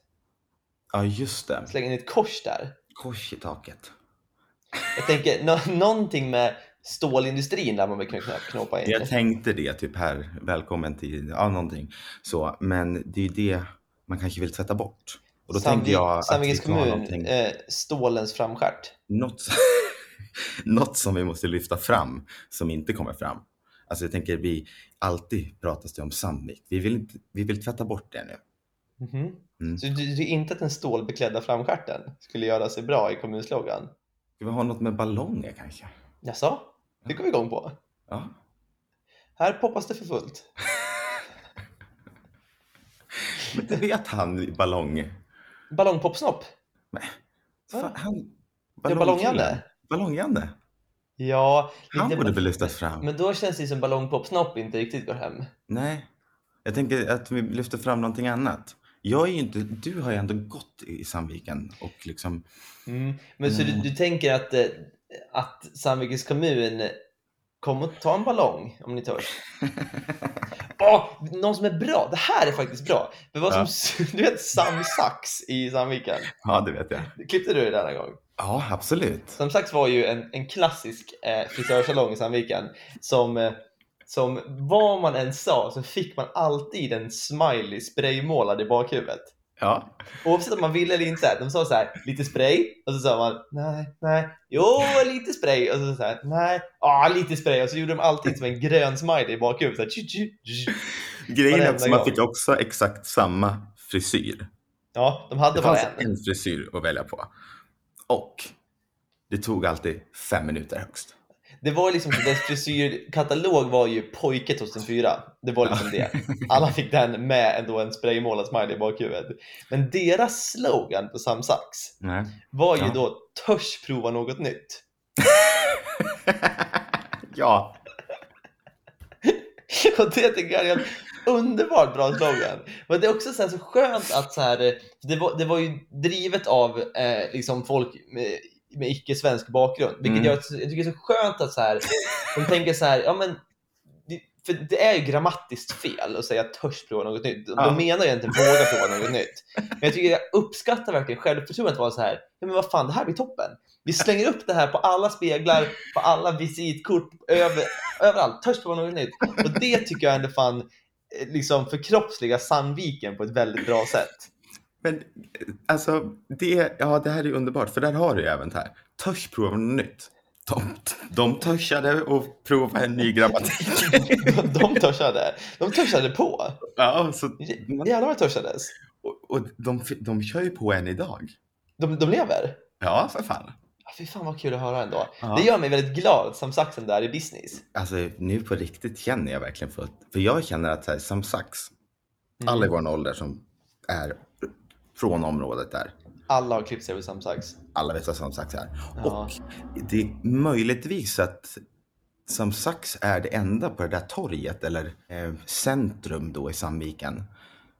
Speaker 1: Ja, just det.
Speaker 2: Slänga in ett kors där.
Speaker 1: Kors i taket.
Speaker 2: Jag tänker nå- någonting med stålindustrin där man vill kunna knä- knåpa in.
Speaker 1: Jag tänkte det, typ här, välkommen till, ja någonting. Så, men det är ju det man kanske vill tvätta bort. Och då tänker jag att vi
Speaker 2: Sandvikens
Speaker 1: ska ha
Speaker 2: kommun,
Speaker 1: någonting,
Speaker 2: eh, stålens framstjärt.
Speaker 1: något, något som vi måste lyfta fram som inte kommer fram. Alltså jag tänker, vi alltid pratas det om Sandvik. Vi vill, inte, vi vill tvätta bort det nu.
Speaker 2: Mhm.
Speaker 1: Mm.
Speaker 2: Så du tycker inte att den stålbeklädda framstjärten skulle göra sig bra i kommunslogan?
Speaker 1: Ska vi ha något med ballonger kanske?
Speaker 2: Jaså? Det går vi igång på.
Speaker 1: Ja.
Speaker 2: Här poppas det för fullt.
Speaker 1: Men det vet han, ballong.
Speaker 2: Ballongpopsnopp.
Speaker 1: Fan, han,
Speaker 2: Ja, ballongjanne.
Speaker 1: Ballongjanne.
Speaker 2: Ja,
Speaker 1: Han
Speaker 2: lite-
Speaker 1: borde väl lyftas fram?
Speaker 2: Men då känns det ju som ballongpopsnopp inte riktigt går hem.
Speaker 1: Nej. Jag tänker att vi lyfter fram någonting annat. Jag är ju inte, du har ju ändå gått i Sandviken och liksom,
Speaker 2: Mm. Men så du,
Speaker 1: Mm.
Speaker 2: du tänker att, eh, att Sandvikens kommun Kom och ta en ballong om ni törs. Åh, någon som är bra. Det här är faktiskt bra. Det var
Speaker 1: Ja.
Speaker 2: som, du vet Sam Sax i Sandviken.
Speaker 1: ja det vet jag.
Speaker 2: Klippte du det där någon gång?
Speaker 1: Ja, absolut.
Speaker 2: Sam Sax var ju en, en klassisk eh, frisörsalong i Sandviken som, eh, som vad man än sa så fick man alltid en smiley spraymålad i bakhuvudet.
Speaker 1: Ja.
Speaker 2: Oavsett om man ville eller inte. De sa så här, lite spray. Och så sa man, nej, nej, jo, lite spray. Och så, så här, nej, ah, lite spray. Och så gjorde de alltid som en grön smiley i bakhuvudet. Så här, tju, tju, tju.
Speaker 1: Grejen är
Speaker 2: Varenda
Speaker 1: att man
Speaker 2: gång.
Speaker 1: fick också exakt samma frisyr.
Speaker 2: Ja, de hade
Speaker 1: Det
Speaker 2: bara
Speaker 1: fanns
Speaker 2: en.
Speaker 1: en frisyr att välja på. Och det tog alltid fem minuter högst.
Speaker 2: Det var liksom, deras frisyrkatalog var ju pojke 2004. Det var liksom det. Alla fick den med ändå en spraymålad smiley i bakhuvudet. Men deras slogan på Sam Sax
Speaker 1: Nej.
Speaker 2: var ju
Speaker 1: Ja.
Speaker 2: då törs prova något nytt.
Speaker 1: ja,
Speaker 2: Och det tycker jag är en underbart bra slogan. Men det är också så, här så skönt att så här, eh, det, var, det var ju drivet av eh, liksom folk med, med icke-svensk bakgrund. Vilket
Speaker 1: Mm.
Speaker 2: gör att jag tycker det är så skönt att så här, de tänker så här, ja men det- för det är ju grammatiskt fel att säga törs prova något nytt. De
Speaker 1: Ja.
Speaker 2: menar ju egentligen våga prova något nytt. Men jag tycker jag uppskattar verkligen självförtroendet att vara så här, ja men vad fan, det här blir toppen. Vi slänger upp det här på alla speglar, på alla visitkort, över, överallt. Törs prova något nytt. Och det tycker jag ändå fan eh, liksom förkroppsliga Sandviken på ett väldigt bra sätt.
Speaker 1: men eh, alltså det, ja, det här är underbart för där har du ju även det här. Törs prova något nytt. De, de törsade och provade en ny grammatik.
Speaker 2: De, de törsade. De törsade på.
Speaker 1: Ja, så,
Speaker 2: J- Jävlar vad törsades.
Speaker 1: och, och de, de kör ju på en idag.
Speaker 2: De, de lever.
Speaker 1: Ja, för fan.
Speaker 2: Ah, Fy fan vad kul att höra ändå.
Speaker 1: Ja.
Speaker 2: Det gör mig väldigt glad att Sam Saxen där i business.
Speaker 1: Alltså nu på riktigt känner jag verkligen för att, för jag känner att så här, som sax, alla i vår ålder som är från området där,
Speaker 2: Alla har klippt sig över Sam Sax.
Speaker 1: alla vet vad som sax är.
Speaker 2: Ja.
Speaker 1: Och det är möjligtvis att som sax är det enda på det där torget eller eh, centrum då i Sandviken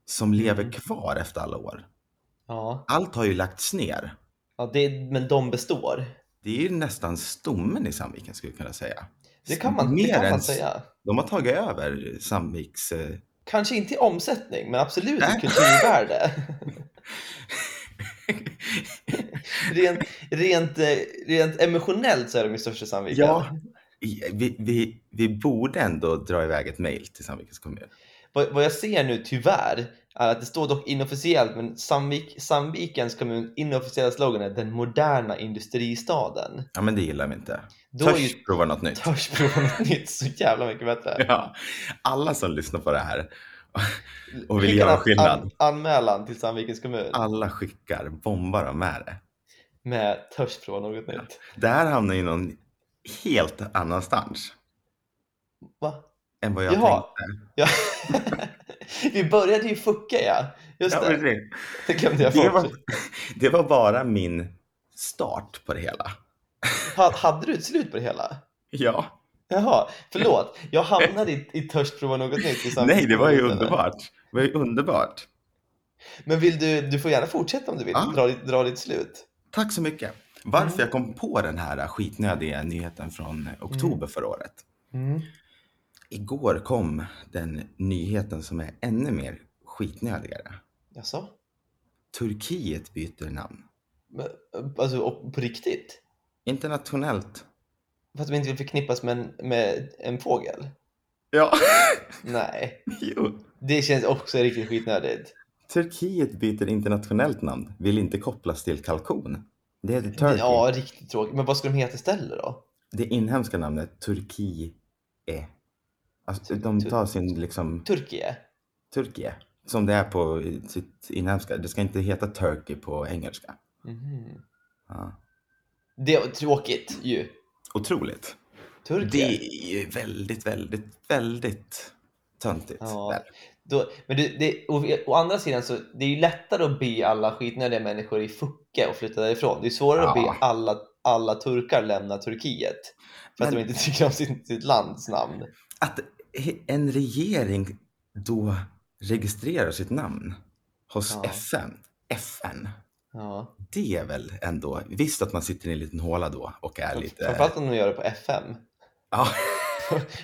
Speaker 1: som lever kvar efter alla år.
Speaker 2: Ja.
Speaker 1: Allt har ju lagts ner.
Speaker 2: ja det, men de består.
Speaker 1: Det är ju nästan stommen i Sandviken skulle jag kunna säga.
Speaker 2: Det kan man, det
Speaker 1: Mer
Speaker 2: kan
Speaker 1: än-
Speaker 2: man säga.
Speaker 1: De har tagit över Sandviks... Eh,
Speaker 2: Kanske inte i omsättning, men absolut
Speaker 1: Nej.
Speaker 2: i kulturvärde. rent, rent, eh, rent emotionellt så är de ju största Sandviken.
Speaker 1: Ja. i- Vi, vi, vi borde ändå dra iväg ett mejl till Sandvikens kommun.
Speaker 2: Vad, vad jag ser nu tyvärr är att det står dock inofficiellt, men Sandvik, Sandvikens kommun inofficiella slogan är den moderna industristaden.
Speaker 1: Ja, men det gillar vi inte.
Speaker 2: Då är
Speaker 1: Törs
Speaker 2: ju
Speaker 1: prova något nytt.
Speaker 2: törs prova något nytt så jävla mycket bättre.
Speaker 1: Ja. Alla som lyssnar på det här, Och vill
Speaker 2: Skicka
Speaker 1: göra
Speaker 2: en
Speaker 1: skillnad.
Speaker 2: An, anmälan till Sandvikens kommun
Speaker 1: alla skickar, bombar dem med det.
Speaker 2: med törs prova något nytt.
Speaker 1: Det här hamnar i någon helt annanstans
Speaker 2: Va?
Speaker 1: än vad jag
Speaker 2: Jaha,
Speaker 1: tänkte.
Speaker 2: Ja. Vi började ju fucka ja. Just
Speaker 1: Ja,
Speaker 2: det.
Speaker 1: precis.
Speaker 2: Det glömde jag
Speaker 1: det,
Speaker 2: bort.
Speaker 1: var, det var bara min start på det hela.
Speaker 2: Ha- Hade du ett slut på det hela?
Speaker 1: Ja,
Speaker 2: Jaha, förlåt. Jag hamnade i, i törst prova något nytt. i samtidigt.
Speaker 1: nej, det var ju underbart. Det var ju underbart.
Speaker 2: Men vill du, du får gärna fortsätta om du vill.
Speaker 1: Ja.
Speaker 2: Dra, ditt- dra ditt slut.
Speaker 1: Tack så mycket. Varför jag kom på den här skitnödiga nyheten från oktober förra året. Mm. Igår kom den nyheten som är ännu mer skitnödigare.
Speaker 2: Jaså?
Speaker 1: Turkiet byter namn.
Speaker 2: Men, Alltså och på riktigt?
Speaker 1: Internationellt.
Speaker 2: För att de inte vill förknippas med en, med en fågel?
Speaker 1: Ja,
Speaker 2: Nej,
Speaker 1: jo.
Speaker 2: det känns också riktigt skitnödigt.
Speaker 1: Turkiet byter internationellt namn, vill inte kopplas till kalkon. Det heter Turkey.
Speaker 2: Ja, riktigt tråkigt. Men vad ska de heta istället då?
Speaker 1: Det inhemska namnet Turkie. Alltså,
Speaker 2: Tur-
Speaker 1: de
Speaker 2: tur-
Speaker 1: tar sin liksom
Speaker 2: Turkiet?
Speaker 1: Turkie. Som det är på i- sitt inhemska. Det ska inte heta Turkey på engelska.
Speaker 2: Mhm.
Speaker 1: Ja.
Speaker 2: Det är tråkigt ju.
Speaker 1: Otroligt.
Speaker 2: Turkiet.
Speaker 1: Det är ju väldigt, väldigt, väldigt töntigt.
Speaker 2: Ja.
Speaker 1: där.
Speaker 2: Då, men det, det, å, å andra sidan så det är ju lättare att be alla skitnödiga människor i Fucka och flytta därifrån. Det är svårare att
Speaker 1: Ja.
Speaker 2: be alla, alla turkar lämna Turkiet för att
Speaker 1: Men-
Speaker 2: de inte tycker om sitt, sitt lands namn.
Speaker 1: Att he- en regering då registrerar sitt namn hos
Speaker 2: Ja.
Speaker 1: FN. FN.
Speaker 2: Ja.
Speaker 1: Det är väl ändå, visst att man sitter i en liten håla då och är lite...
Speaker 2: Framförallt om de gör det på FM.
Speaker 1: Ja,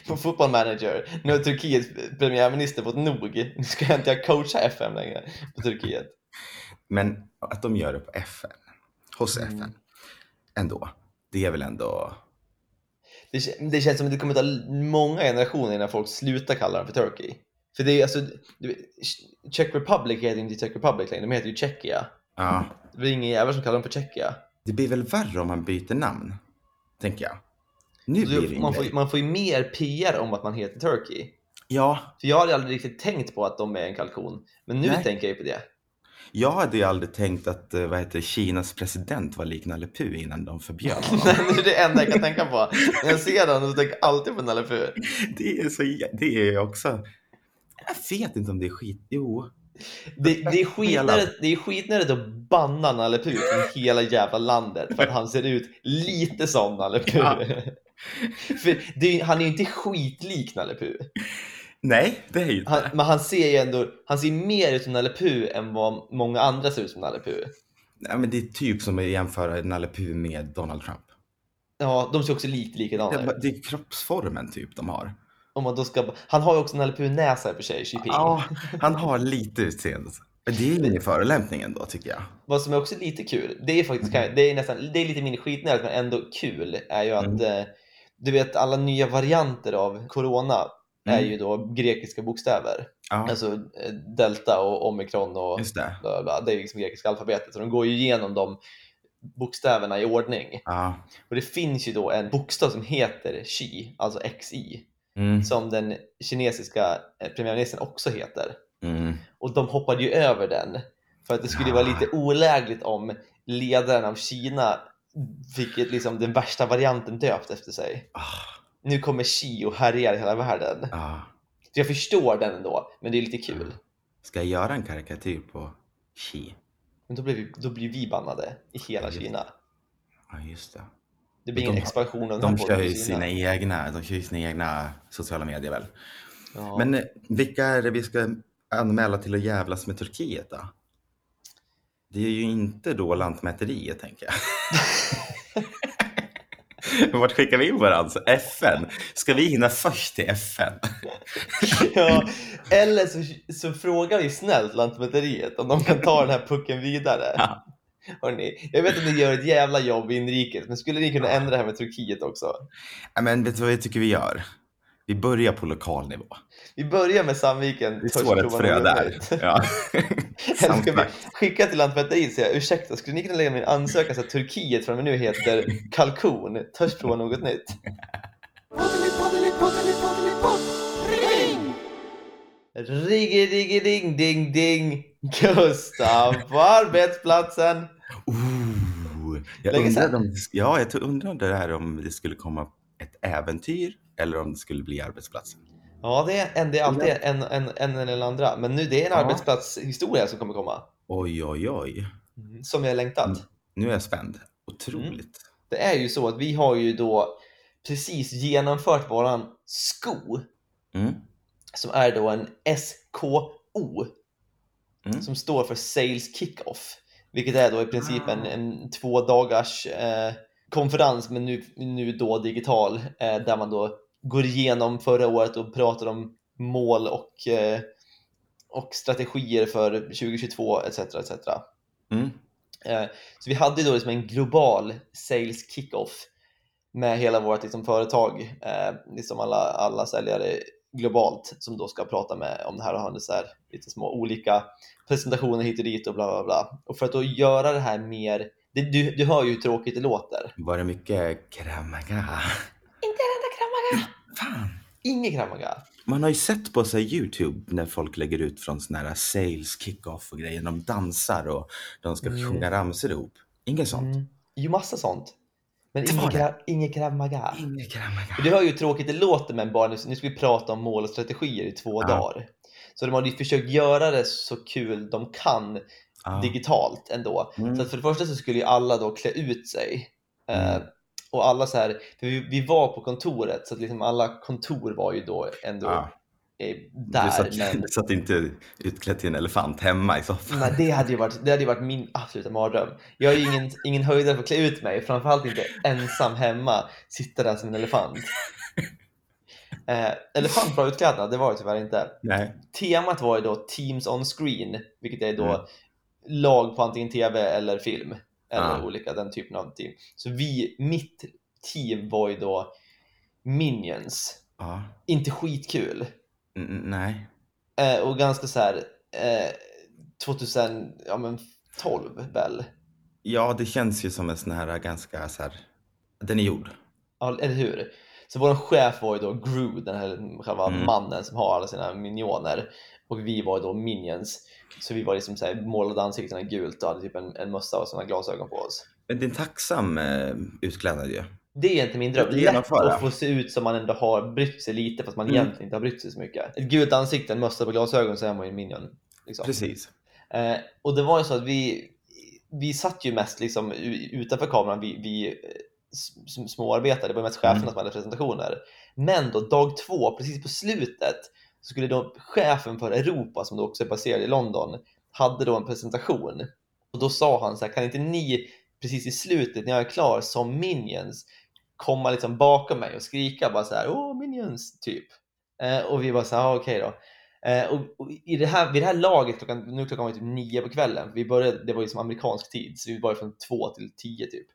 Speaker 2: På Football Manager. Nu har Turkiets premiärminister fått nog. Nu ska jag inte coacha FM längre på Turkiet.
Speaker 1: men att de gör det på FN, hos
Speaker 2: Mm.
Speaker 1: FN, ändå. Det är väl ändå...
Speaker 2: Det, kän- det känns som att det kommer ta många generationer innan folk slutar kalla dem för Turkey. För det är ju alltså, du, vet, Czech Republic heter inte Czech Republic längre, de heter ju Tjeckien.
Speaker 1: Ja.
Speaker 2: Det är ingen jävel som kallar dem för Tjeckien.
Speaker 1: Det blir väl värre om man byter namn, tänker jag. Nu
Speaker 2: Så
Speaker 1: blir det
Speaker 2: du- Man,
Speaker 1: ingen
Speaker 2: får-
Speaker 1: Alltså, får...
Speaker 2: man får ju mer PR om att man heter Turkey.
Speaker 1: Ja,
Speaker 2: För jag hade aldrig riktigt tänkt på att de är en kalkon. Men nu
Speaker 1: Nej.
Speaker 2: tänker jag ju på det.
Speaker 1: jag hade ju aldrig tänkt att eh, vad heter, det, Kinas president var lik Nalle Puh innan de förbjöd honom.
Speaker 2: Nej, men det är det enda jag kan tänka på. När jag ser den så tänker jag alltid på Nalle Puh.
Speaker 1: Det är så, jä- det är ju också... Jag vet inte om det är skit... Jo.
Speaker 2: Det, det är skitnödigt- det är skitnödigt att banna Nalle Puh från hela jävla landet för att han ser ut lite som Nalle Puh.
Speaker 1: Ja.
Speaker 2: För det är, han är ju inte skitlik Nalle Puh.
Speaker 1: Nej, det är ju inte.
Speaker 2: Han, men han ser ju ändå, han ser mer ut som Nalle Puh än vad många andra ser ut som Nalle Puh.
Speaker 1: Nej, men det är typ som att jämföra Nalle Puh med Donald Trump.
Speaker 2: Ja, de ser också lite likadana
Speaker 1: Det,
Speaker 2: ut.
Speaker 1: är- det är kroppsformen typ de har.
Speaker 2: Om man då ska, han har ju också Nalle Puh-näsa i och för sig, Xi Jinping.
Speaker 1: Ja, han har lite utseende. Men det är ju ingen förolämpning ändå tycker jag.
Speaker 2: Vad som är också lite kul, det är faktiskt det är nästan, det är lite mindre skitnödigt men ändå kul, är ju att
Speaker 1: Mm.
Speaker 2: eh, du vet alla nya varianter av corona är
Speaker 1: Mm.
Speaker 2: ju då grekiska bokstäver.
Speaker 1: Ja,
Speaker 2: Alltså eh, delta och omikron och
Speaker 1: just det.
Speaker 2: bla, bla, bla. det är ju liksom grekiska alfabetet. Så de går ju igenom de bokstäverna i ordning.
Speaker 1: Ja.
Speaker 2: Och det finns ju då en bokstav som heter Xi, alltså XI,
Speaker 1: Mm.
Speaker 2: som den kinesiska eh, premiärministern också heter.
Speaker 1: Mm.
Speaker 2: Och de hoppade ju över den. För att det skulle vara
Speaker 1: Ah.
Speaker 2: lite olägligt om ledaren av Kina fick ett, liksom, den värsta varianten döpt efter sig.
Speaker 1: Ah,
Speaker 2: Nu kommer Xi och härjar i hela världen.
Speaker 1: ah.
Speaker 2: Så jag förstår den ändå, men det är lite kul.
Speaker 1: Ska jag göra en karikatyr på Xi?
Speaker 2: Men då blir vi, då blir vi bannade i hela
Speaker 1: Ja,
Speaker 2: Kina.
Speaker 1: Ja, just det.
Speaker 2: Det blir
Speaker 1: De-
Speaker 2: ingen expansion av den här
Speaker 1: De
Speaker 2: podden
Speaker 1: kör
Speaker 2: i
Speaker 1: ju
Speaker 2: Kina.
Speaker 1: sina egna, de kör ju sina egna sociala medier väl.
Speaker 2: Ja.
Speaker 1: Men eh, vilka är det vi ska anmäla till att jävlas med Turkiet då? Det är ju inte då Lantmäteriet tänker jag. Vart skickar vi in varandra? FN? Ska vi hinna först till FN?
Speaker 2: ja. Eller så, så frågar vi snällt Lantmäteriet om de kan ta den här pucken vidare.
Speaker 1: Ja.
Speaker 2: Hörrni, jag vet att ni gör ett jävla jobb inrikes, men skulle ni kunna ändra det här med Turkiet också?
Speaker 1: Nej, Men vet du vad jag tycker vi gör? Vi börjar på lokal nivå.
Speaker 2: Vi börjar med Sandviken.
Speaker 1: Vi
Speaker 2: först,
Speaker 1: sår ett
Speaker 2: provar
Speaker 1: frö
Speaker 2: något
Speaker 1: där.
Speaker 2: nytt.
Speaker 1: Ja.
Speaker 2: Eller ska vi
Speaker 1: Samtidigt.
Speaker 2: skicka till Lantmäteriet och säga ursäkta, skulle ni kunna lägga min ansökan så att Turkiet från och med nu heter kalkon? Törs prova något nytt? Riggi, riggi, ding, ding, ding. Gustav på arbetsplatsen.
Speaker 1: Ooh, jag
Speaker 2: Länge
Speaker 1: undrar
Speaker 2: sedan.
Speaker 1: om, ja, jag tror- undrar om det här om det skulle komma ett äventyr eller om det skulle bli arbetsplatsen.
Speaker 2: Ja, det är, en, det är alltid en, en, en eller andra. Men nu, det är en
Speaker 1: Ja.
Speaker 2: arbetsplatshistoria som kommer komma.
Speaker 1: Oj, oj, oj.
Speaker 2: Som jag längtat.
Speaker 1: Mm. Nu är jag spänd. Otroligt.
Speaker 2: Det är ju så att vi har ju då precis genomfört våran sko
Speaker 1: Mm.
Speaker 2: som är då en SKO
Speaker 1: Mm.
Speaker 2: som står för Sales Kickoff. Vilket är då i princip
Speaker 1: Ah.
Speaker 2: en, en två dagars eh, konferens men nu, nu då digital eh, där man då går igenom förra året och pratar om mål och, eh, och strategier för 2022 etc. etc.
Speaker 1: Mm.
Speaker 2: Eh, Så vi hade ju då liksom en global sales kick-off med hela vårt liksom företag, eh, liksom alla, alla säljare globalt som då ska prata med om det här och ha så här, lite små olika presentationer hit och dit och bla bla bla. Och för att då göra det här mer, det, du, du hör ju hur tråkigt det låter.
Speaker 1: Var det mycket kramaga?
Speaker 2: Inte en enda kramaga!
Speaker 1: Fan.
Speaker 2: Ingen kramaga.
Speaker 1: Man har ju sett på sig Youtube när folk lägger ut från såna här sales kick-off och grejer. De dansar och de ska
Speaker 2: Mm.
Speaker 1: sjunga ramsor ihop. Inget sånt.
Speaker 2: Mm. Jo, massa sånt. Men
Speaker 1: Det
Speaker 2: ingen,
Speaker 1: var det.
Speaker 2: kra, ingen kramaga.
Speaker 1: Inget kramaga.
Speaker 2: För Du hör ju hur tråkigt det låter men bara nu, nu ska vi prata om mål och strategier i två
Speaker 1: Ja.
Speaker 2: dagar. Så de har ju försökt göra det så kul de kan
Speaker 1: Ja.
Speaker 2: digitalt ändå.
Speaker 1: Mm.
Speaker 2: Så att för det första så skulle ju alla då klä ut sig. Eh,
Speaker 1: Mm.
Speaker 2: och alla så här, för vi, vi var på kontoret så att liksom alla kontor var ju då ändå
Speaker 1: Ja.
Speaker 2: eh,
Speaker 1: Du,
Speaker 2: där.
Speaker 1: Ah. satt,
Speaker 2: Men,
Speaker 1: du satt inte utklädd till en elefant hemma i soffan.
Speaker 2: men det hade ju varit, det hade ju varit min absoluta mardröm. Jag är ju ingen, ingen höjdare för att klä ut mig, framförallt inte ensam hemma, sitta där som en elefant. Eh, elefant bra utklädnad, det var det tyvärr inte.
Speaker 1: Nej.
Speaker 2: Temat var ju då Teams on Screen, vilket är då
Speaker 1: Mm.
Speaker 2: lag på antingen TV eller film. Eller
Speaker 1: Ah.
Speaker 2: olika den typen av team. Så vi, mitt team var ju då Minions.
Speaker 1: Ja.
Speaker 2: Inte skitkul.
Speaker 1: N- n- nej.
Speaker 2: Eh, och ganska så här eh, 2012 ja, men 12 väl?
Speaker 1: Ja, det känns ju som en sån här ganska så här. Den är gjord.
Speaker 2: Ja, eller hur? Så vår chef var ju då Gru, den här själva
Speaker 1: Mm.
Speaker 2: mannen som har alla sina minioner. Och vi var ju då minions. Så vi var liksom så här, målade ansiktena gult och hade typ en, en mössa och såna glasögon på oss.
Speaker 1: Men det är en tacksam eh, utklädnad ju.
Speaker 2: Det är egentligen min dröm.
Speaker 1: Det
Speaker 2: Lätt
Speaker 1: genomföra.
Speaker 2: att få se ut som man ändå har brytt sig lite fast man
Speaker 1: Mm.
Speaker 2: egentligen inte har brytt sig så mycket. Ett gult ansikte, en mössa på glasögon så är man ju en minion. Liksom.
Speaker 1: Precis.
Speaker 2: Eh, och det var ju så att vi, vi satt ju mest liksom u- utanför kameran, vi, vi eh, s- s- småarbetade, det var mest cheferna
Speaker 1: Mm.
Speaker 2: som hade presentationer. Men då dag två, precis på slutet, så skulle då chefen för Europa, som då också är baserad i London, hade då en presentation. Och då sa han så här, kan inte ni precis i slutet när jag är klar som minions komma liksom bakom mig och skrika bara så här, åh minions, typ. Eh, och vi bara så här, ah, okej då. Eh, och, och i det här, vid det här laget, klockan, nu klockan var ju typ nio på kvällen, vi började, det var ju som amerikansk tid, så vi var ju från två till tio typ.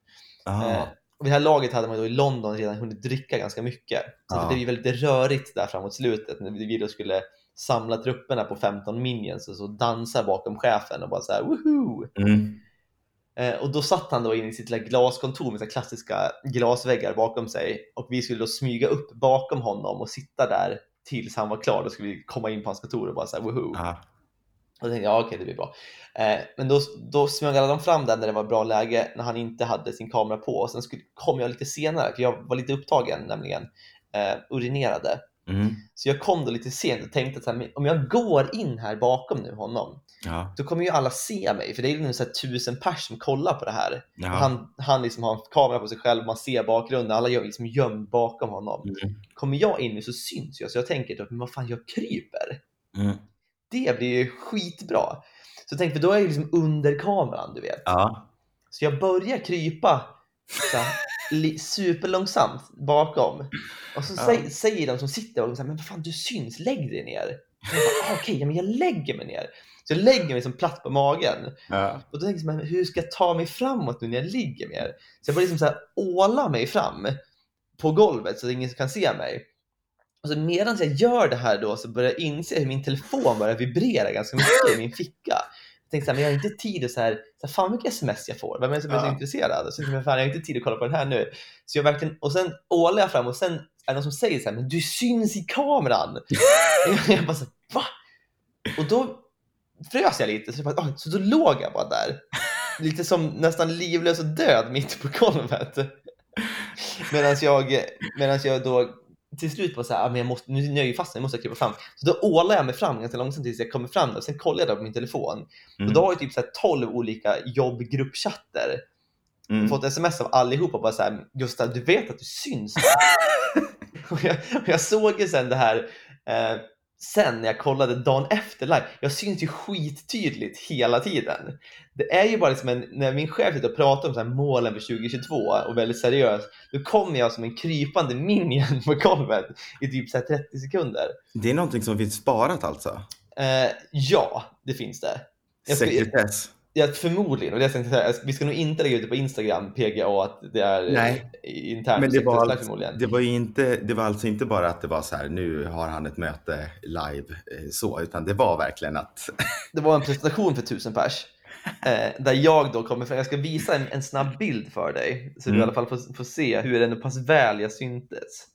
Speaker 1: Ja.
Speaker 2: Eh, och vid det här laget hade man då i London redan hunnit dricka ganska mycket. Så
Speaker 1: Ja.
Speaker 2: det blev ju väldigt rörigt där framåt slutet när vi då skulle samla trupperna på 15 minions och så dansa bakom chefen och bara så här woohoo!
Speaker 1: Mm.
Speaker 2: Eh, och då satt han då inne i sitt lilla glaskontor med sina klassiska glasväggar bakom sig och vi skulle då smyga upp bakom honom och sitta där tills han var klar. Då skulle vi komma in på hans kontor och bara så här woohoo!
Speaker 1: Ja.
Speaker 2: Och då tänkte jag, ja, okej, det blir bra. Eh, men då, då smög alla de fram där när det var bra läge, när han inte hade sin kamera på. Och sen skulle, kom jag lite senare, för jag var lite upptagen nämligen, eh, urinerade.
Speaker 1: Mm.
Speaker 2: Så jag kom då lite sent och tänkte att så här, men om jag går in här bakom nu honom,
Speaker 1: Ja.
Speaker 2: då kommer ju alla se mig. För det är ju nu så här tusen pers som kollar på det här.
Speaker 1: Ja.
Speaker 2: Han, han liksom har en kamera på sig själv, man ser bakgrunden, alla är liksom gömd bakom honom.
Speaker 1: Mm.
Speaker 2: Kommer jag in nu så syns jag, så jag tänker typ, men vad fan, jag kryper
Speaker 1: Mm.
Speaker 2: det blir ju skitbra. Så tänk, för då är jag ju liksom under kameran, du vet.
Speaker 1: Ja.
Speaker 2: Så jag börjar krypa så här, li- superlångsamt bakom. Och så
Speaker 1: Ja.
Speaker 2: säger, säger de som sitter bakom så här, men vad fan du syns, lägg dig ner. Och jag bara, "Ah, Okej, ja, men jag lägger mig ner. Så jag lägger mig liksom platt på magen.
Speaker 1: Ja.
Speaker 2: Och då tänker jag, så här, men hur ska jag ta mig framåt nu när jag ligger ner? Så jag börjar liksom så här, åla mig fram på golvet så att ingen kan se mig. Och så medan jag gör det här då så börjar jag inse hur min telefon börjar vibrera ganska mycket i min ficka. Jag tänkte så här, men jag har inte tid att så här, så här, fan vilka sms jag får. Vem är det som är så
Speaker 1: Ja.
Speaker 2: intresserad? Och så tänkte jag, fan jag har inte tid att kolla på den här nu. Så jag verkligen, och sen ålar jag fram och sen är det någon som säger så här, men du syns i kameran. jag bara så här, va? Och då frös jag lite, så, jag bara, "Oj." så då låg jag bara där. Lite som nästan livlös och död mitt på golvet. Medan jag, medans jag då till slut var så här, "Ah, men jag måste, nu är jag ju fast, jag måste krypa fram. Så då ålar jag mig fram ganska långsamt tills jag kommer fram och sen kollar jag då på min telefon.
Speaker 1: Mm.
Speaker 2: Och då har jag typ så här 12 olika jobbgruppchatter.
Speaker 1: Mm.
Speaker 2: Fått sms av allihopa bara så här, Gustav, du vet att du syns. och jag, och jag såg ju sen det här, eh, sen när jag kollade dagen efter live, jag syns ju skittydligt hela tiden. Det är ju bara liksom en, när min chef sitter och pratar om så här målen för 2022 och väldigt seriöst, då kommer jag som en krypande minion på golvet i typ så här 30 sekunder.
Speaker 1: Det är någonting som finns sparat alltså?
Speaker 2: Eh, ja, det finns det. Jag ska-
Speaker 1: Sekretess?
Speaker 2: Jag, förmodligen, och det jag tänkte säga, vi ska nog inte lägga ut det på Instagram, PGA, att det är eh,
Speaker 1: Nej.
Speaker 2: internt.
Speaker 1: Men det
Speaker 2: sekretess
Speaker 1: var,
Speaker 2: där
Speaker 1: alltså,
Speaker 2: förmodligen.
Speaker 1: det, var ju inte, det var alltså inte bara att det var så här, nu har han ett möte live eh, så, utan det var verkligen att
Speaker 2: det var en presentation för tusen pers. Eh, där jag då kommer fram. Jag ska visa en, en snabb bild för dig. Så du
Speaker 1: Mm.
Speaker 2: i alla fall får, får se hur ändå pass väl jag syntes.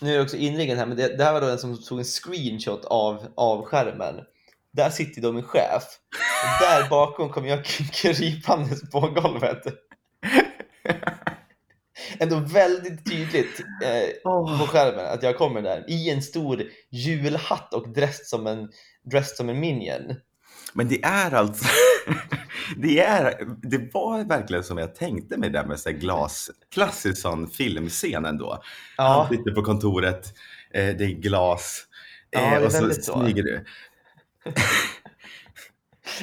Speaker 2: Nu är det också inringen här, men det, det här var då den som tog en screenshot av, av skärmen. Där sitter då min chef. Och där bakom kommer jag krypandes på golvet. Ändå väldigt tydligt eh, på skärmen att jag kommer där i en stor julhatt och dressed som en, dressed som en minion.
Speaker 1: Men det är alltså, det, är, det var verkligen som jag tänkte mig det där med så här glas, klassisk sån filmscen ändå.
Speaker 2: Ja.
Speaker 1: Han sitter på kontoret, eh, det är glas eh,
Speaker 2: Ja, det är
Speaker 1: och så
Speaker 2: väldigt så.
Speaker 1: smyger du.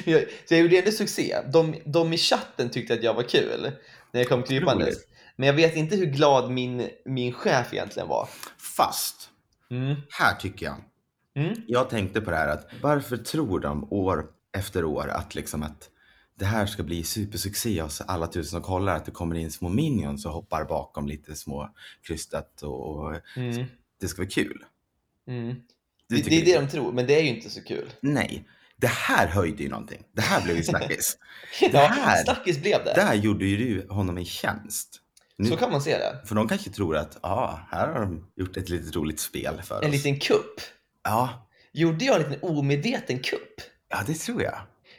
Speaker 2: Jag, så jag gjorde ändå succé. De, de i chatten tyckte att jag var kul när jag kom krypandes.
Speaker 1: Otroligt.
Speaker 2: Men jag vet inte hur glad min, min chef egentligen var.
Speaker 1: Fast,
Speaker 2: Mm.
Speaker 1: här tycker jag,
Speaker 2: Mm.
Speaker 1: jag tänkte på det här att varför tror de år efter år att liksom att det här ska bli supersuccé hos alla tusen som kollar, att det kommer in små minions och hoppar bakom lite små krystat och, och
Speaker 2: Mm.
Speaker 1: det ska vara kul.
Speaker 2: Mm.
Speaker 1: Du
Speaker 2: Det,
Speaker 1: tycker
Speaker 2: det är det de tror, men det är ju inte så kul.
Speaker 1: Nej, det här höjde ju någonting. Det här blev ju snackis.
Speaker 2: Ja,
Speaker 1: här-
Speaker 2: snackis blev det.
Speaker 1: Där gjorde ju du honom en tjänst. Nu,
Speaker 2: Så kan man se det.
Speaker 1: För de kanske tror att, ja, här har de gjort ett litet roligt spel för
Speaker 2: En
Speaker 1: oss.
Speaker 2: liten kupp.
Speaker 1: Ja,
Speaker 2: Gjorde jag en liten omedveten kupp?
Speaker 1: ja, det tror jag.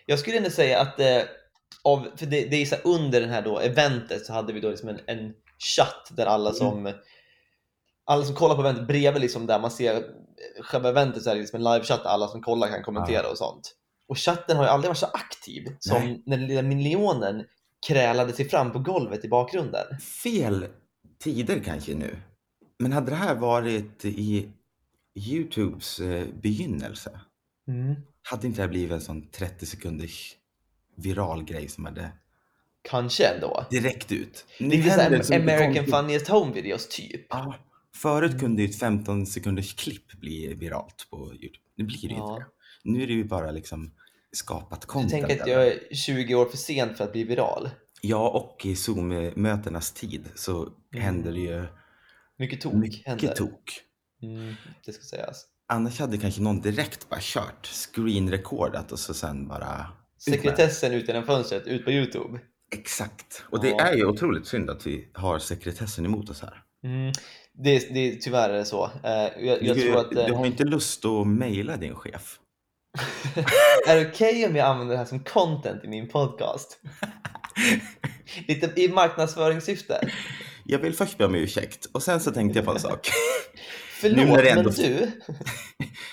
Speaker 2: Jag skulle ändå säga att eh, av, för det, det är så här, under den här då eventet så hade vi då liksom en, en chatt där
Speaker 1: Mm.
Speaker 2: alla som alla som kollar på eventet bredvid liksom där man ser själva eventet så är det liksom en livechatt där alla som kollar kan kommentera och sånt. Och chatten har ju aldrig varit så aktiv som
Speaker 1: Nej.
Speaker 2: när den lilla miljonen krälade sig fram på golvet i bakgrunden.
Speaker 1: Fel tider kanske nu. Men hade det här varit i Youtubes eh, begynnelse, Mm. hade inte det här blivit en sån 30 sekunders viral grej som hade
Speaker 2: Kanske ändå.
Speaker 1: direkt ut? Nu
Speaker 2: Lite
Speaker 1: händer det så
Speaker 2: såhär
Speaker 1: mycket
Speaker 2: American
Speaker 1: konstigt.
Speaker 2: Funniest Home Videos typ.
Speaker 1: Ja,
Speaker 2: Mm.
Speaker 1: förut kunde ju ett 15 sekunders klipp bli viralt på Youtube. Nu blir det ju
Speaker 2: Ja.
Speaker 1: inte det. Nu är det ju bara liksom skapat
Speaker 2: Du
Speaker 1: content.
Speaker 2: tänker att
Speaker 1: eller?
Speaker 2: jag är 20 år för sent för att bli viral.
Speaker 1: Ja, och i Zoom-mötenas tid så händer det ju
Speaker 2: Mycket Mm. tok
Speaker 1: mycket
Speaker 2: händer.
Speaker 1: tok.
Speaker 2: Mm, det ska sägas.
Speaker 1: Annars hade kanske någon direkt bara kört screen-recordat och så sen bara... ut med det.
Speaker 2: Sekretessen ut genom fönstret, ut på Youtube.
Speaker 1: Exakt. Och det
Speaker 2: Ja.
Speaker 1: är ju otroligt synd att vi har sekretessen emot oss här.
Speaker 2: Mm. Det, det, tyvärr är det så. Eh, jag, jag
Speaker 1: du,
Speaker 2: tror att, eh,
Speaker 1: du har ju inte lust att mejla din chef.
Speaker 2: är det okej om jag använder det här som content i min podcast? Lite i marknadsföringssyfte.
Speaker 1: Jag vill först be om ursäkt och sen så tänkte jag på en sak. Nu
Speaker 2: Förlåt,
Speaker 1: när det ändå-
Speaker 2: men du,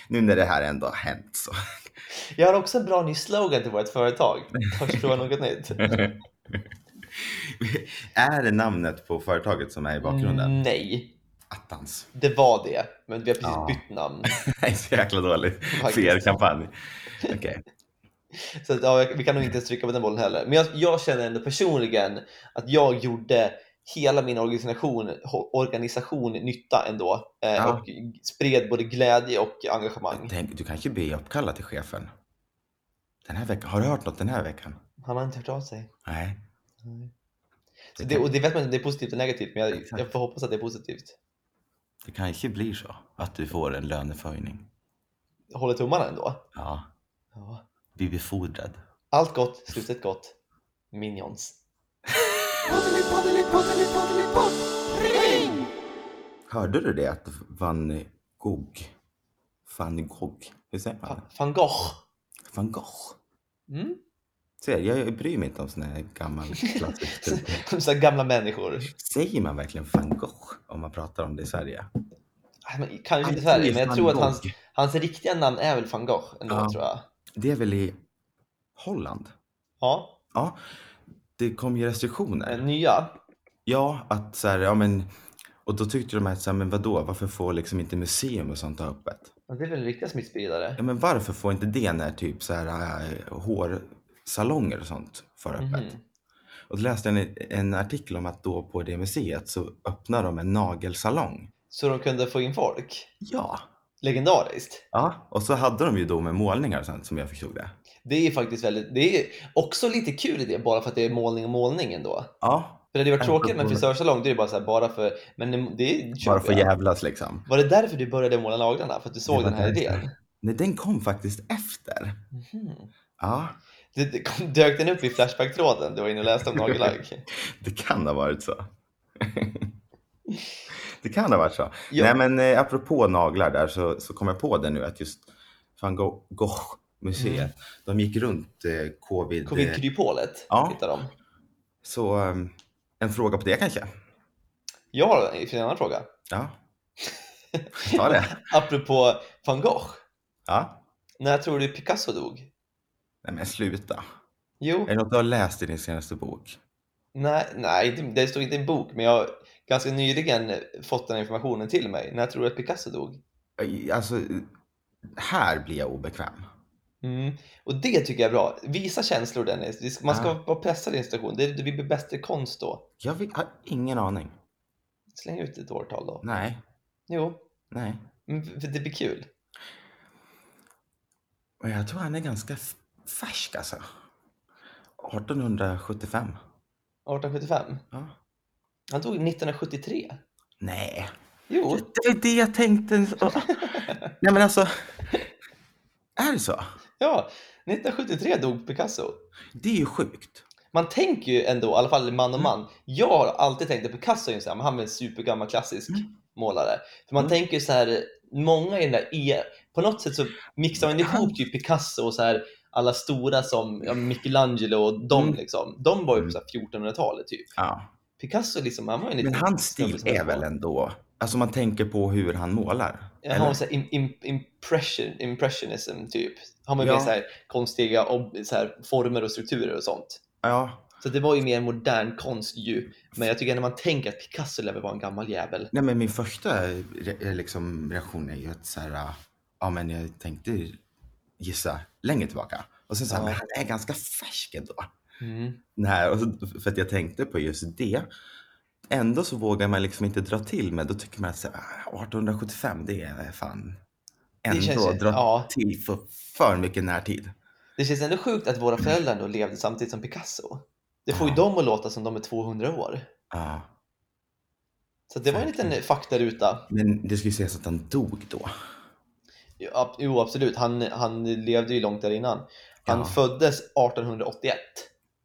Speaker 1: nu när det här ändå har hänt så.
Speaker 2: jag har också en bra ny slogan till vårt företag. Törs prova något nytt?
Speaker 1: är det namnet på företaget som är i bakgrunden?
Speaker 2: Mm. Nej,
Speaker 1: Attans.
Speaker 2: det var det. Men vi har precis
Speaker 1: Ja.
Speaker 2: bytt namn.
Speaker 1: Nej, så jäkla dålig
Speaker 2: Faktiskt.
Speaker 1: PR-kampanj. Okej.
Speaker 2: Så att, ja, vi kan nog inte stryka på den bollen heller. Men jag, jag känner ändå personligen att jag gjorde hela min organisation, ho- organisation nytta ändå. Eh,
Speaker 1: Ja.
Speaker 2: Och spred både glädje och engagemang.
Speaker 1: Tänk, du kanske blir uppkallad till chefen. Den här veckan. Har du hört något den här veckan?
Speaker 2: Han har inte hört av sig.
Speaker 1: Nej.
Speaker 2: Nej. Så
Speaker 1: Det,
Speaker 2: det, och det vet man inte om det är positivt eller negativt, men jag,
Speaker 1: Exakt.
Speaker 2: jag får hoppas att det är positivt.
Speaker 1: det kanske blir så att du får en löneförhöjning.
Speaker 2: Jag Håller tummarna ändå.
Speaker 1: Ja,
Speaker 2: Ja.
Speaker 1: bli befordrad.
Speaker 2: Allt gott, slutet gott. Minions.
Speaker 1: Hörde du det att Van Gogh, Van Gogh, hur säger man?
Speaker 2: Fa- Van Gogh.
Speaker 1: Van Gogh
Speaker 2: Mm?
Speaker 1: Ser, jag bryr mig inte om sån här gammal klassisk typ.
Speaker 2: Så här gamla människor.
Speaker 1: Säger man verkligen van Gogh om man pratar om det i Sverige?
Speaker 2: Nej, men Kanske inte i
Speaker 1: Han är
Speaker 2: Sverige, men jag
Speaker 1: van
Speaker 2: tror att
Speaker 1: Gogh.
Speaker 2: hans, hans riktiga namn är väl van Gogh ändå,
Speaker 1: Ja.
Speaker 2: tror jag.
Speaker 1: Det är väl i Holland?
Speaker 2: Ja,
Speaker 1: Ja, det kom ju restriktioner.
Speaker 2: eh, nya.
Speaker 1: Ja, att så här, ja men och då tyckte de att så här, men vadå, varför får liksom inte museum och sånt ha öppet?
Speaker 2: Ja, Det är väl riktiga smittspridare.
Speaker 1: Ja, men varför får inte det när typ så här äh, hårsalonger och sånt får öppet?
Speaker 2: Mhm.
Speaker 1: Och då läste jag en, en artikel om att då på det museet så öppnar de en nagelsalong.
Speaker 2: Så de kunde få in folk.
Speaker 1: Ja.
Speaker 2: Legendariskt.
Speaker 1: Ja, och så hade de ju då med målningar och sånt som jag förstod det.
Speaker 2: Det är faktiskt väldigt, det är också lite kul i det, bara för att det är målning och målning ändå.
Speaker 1: Ja,
Speaker 2: För det hade varit
Speaker 1: Ja,
Speaker 2: tråkigt med en
Speaker 1: absolut.
Speaker 2: frisörsalong, då är det bara så här, bara för, men det, det köper
Speaker 1: bara för att
Speaker 2: jag.
Speaker 1: jävlas liksom.
Speaker 2: Var det därför du började måla naglarna? För att du såg
Speaker 1: Det var
Speaker 2: den här
Speaker 1: därför.
Speaker 2: idén?
Speaker 1: Nej, den kom faktiskt efter.
Speaker 2: Mhm.
Speaker 1: Ja,
Speaker 2: Det, det kom, dök den upp i Flashback-tråden du var inne och läste om nagellack?
Speaker 1: det kan ha varit så. det kan ha varit så.
Speaker 2: Ja.
Speaker 1: Nej, men eh, apropå naglar där så, så kom jag på det nu att just van Gogh- Gogh-museet,
Speaker 2: Mm.
Speaker 1: de gick runt eh, covid. eh,
Speaker 2: Covid-kryphålet
Speaker 1: Ja.
Speaker 2: hittar de.
Speaker 1: så eh, en fråga på det kanske?
Speaker 2: Jag har en en annan fråga.
Speaker 1: Ja. Ta det.
Speaker 2: Apropå van Gogh.
Speaker 1: Ja.
Speaker 2: När tror du Picasso dog?
Speaker 1: Nej men sluta.
Speaker 2: Jo,
Speaker 1: Är det något du har läst i din senaste bok?
Speaker 2: nej, nej inte- det stod inte i en bok, men jag har ganska nyligen fått den här informationen till mig. När tror du att Picasso dog?
Speaker 1: Aj, Alltså, här blir jag obekväm.
Speaker 2: Mm. Och det tycker jag är bra. Visa känslor Dennis. Vi ska- Man ska
Speaker 1: Ja.
Speaker 2: vara pressad i en situation. Det, det blir bättre konst då.
Speaker 1: Jag vet- har ingen aning.
Speaker 2: Släng ut ett årtal då.
Speaker 1: Nej,
Speaker 2: Jo,
Speaker 1: nej.
Speaker 2: men för det blir kul.
Speaker 1: Men jag tror han är ganska f- färsk alltså. 1875.
Speaker 2: 1875.
Speaker 1: Ja.
Speaker 2: Han dog 1973.
Speaker 1: Nej.
Speaker 2: Jo,
Speaker 1: Det är det jag tänkte. Nej men alltså. Är det så?
Speaker 2: ja. 1973 dog Picasso.
Speaker 1: Det är ju sjukt.
Speaker 2: Man tänker ju ändå, i alla fall man
Speaker 1: Mm.
Speaker 2: och man. Jag har alltid tänkt att Picasso är en sån här, men han är en supergammal klassisk
Speaker 1: Mm.
Speaker 2: målare. För man
Speaker 1: Mm.
Speaker 2: tänker ju så här, många i den där, e- på något sätt så mixar man ihop typ Picasso och så här alla stora som ja, Michelangelo och de
Speaker 1: Mm.
Speaker 2: liksom. De var ju på
Speaker 1: Mm.
Speaker 2: så här 1400-talet typ.
Speaker 1: Ja.
Speaker 2: Picasso liksom, han var ju en
Speaker 1: Men
Speaker 2: liten
Speaker 1: hans
Speaker 2: snubbe
Speaker 1: stil
Speaker 2: som liksom
Speaker 1: är
Speaker 2: höll på.
Speaker 1: väl ändå, alltså man tänker på hur han målar.
Speaker 2: Ja, Han var så här im- im- impression, impressionism typ. Han var ju
Speaker 1: Ja.
Speaker 2: mer så här konstiga ob- så här former och strukturer och sånt.
Speaker 1: Ja.
Speaker 2: Så det var ju mer modern konst ju. Men jag tycker när man tänker att Picasso lär väl vara en gammal jävel.
Speaker 1: Nej men min första re- liksom, reaktion är ju att så här, äh, ja men jag tänkte gissa längre tillbaka. Och sen så här,
Speaker 2: Ja.
Speaker 1: men han är ganska färsk ändå. Nej, och så- för att jag tänkte på just det. Ändå så vågar man liksom inte dra till med, då tycker man att så här, "Ah, 1875 det är fan ändå
Speaker 2: känns ju-
Speaker 1: dra
Speaker 2: ja.
Speaker 1: till för, för mycket närtid.
Speaker 2: Det känns ändå sjukt att våra föräldrar ändå levde samtidigt som Picasso. Det får ju
Speaker 1: Ja.
Speaker 2: dem att låta som de är 200 år.
Speaker 1: Ja.
Speaker 2: Så det var en liten faktaruta.
Speaker 1: Men det ska ju sägas att han dog då.
Speaker 2: Jo, ab- Jo, absolut. Han, han levde ju långt där innan. Han
Speaker 1: Ja.
Speaker 2: föddes 1881.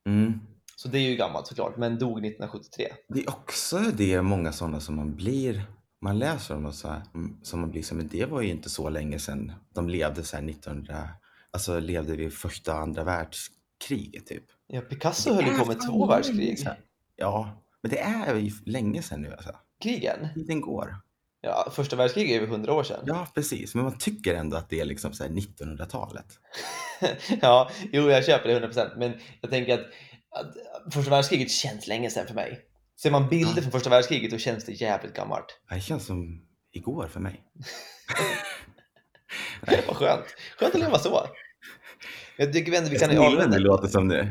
Speaker 1: Mm.
Speaker 2: Så det är ju gammalt såklart, men dog 1973.
Speaker 1: Det är också det många sådana som man blir, man läser om och så här, mm, som man blir som, men det var ju inte så länge sedan de levde så här 1900, alltså levde vid första och andra världskriget typ.
Speaker 2: Ja, Picasso
Speaker 1: Det
Speaker 2: höll ju
Speaker 1: är
Speaker 2: på med
Speaker 1: fan
Speaker 2: två
Speaker 1: länge
Speaker 2: världskrig.
Speaker 1: sedan. Ja, men det är ju länge sedan nu alltså.
Speaker 2: Krigen?
Speaker 1: Tiden går.
Speaker 2: Ja, första världskriget är över hundra år sedan.
Speaker 1: Ja, precis. Men man tycker ändå att det är liksom så här 1900-talet.
Speaker 2: ja, jo, jag köper det 100%. Men jag tänker att, att första världskriget känns länge sedan för mig. Ser man bilder
Speaker 1: Ja.
Speaker 2: från första världskriget då känns det jävligt gammalt.
Speaker 1: Det känns som igår för mig.
Speaker 2: Vad skönt. Skönt att leva så. Jag tycker vi ändå vi kan
Speaker 1: snillen vi
Speaker 2: avrunda.
Speaker 1: låter som nu.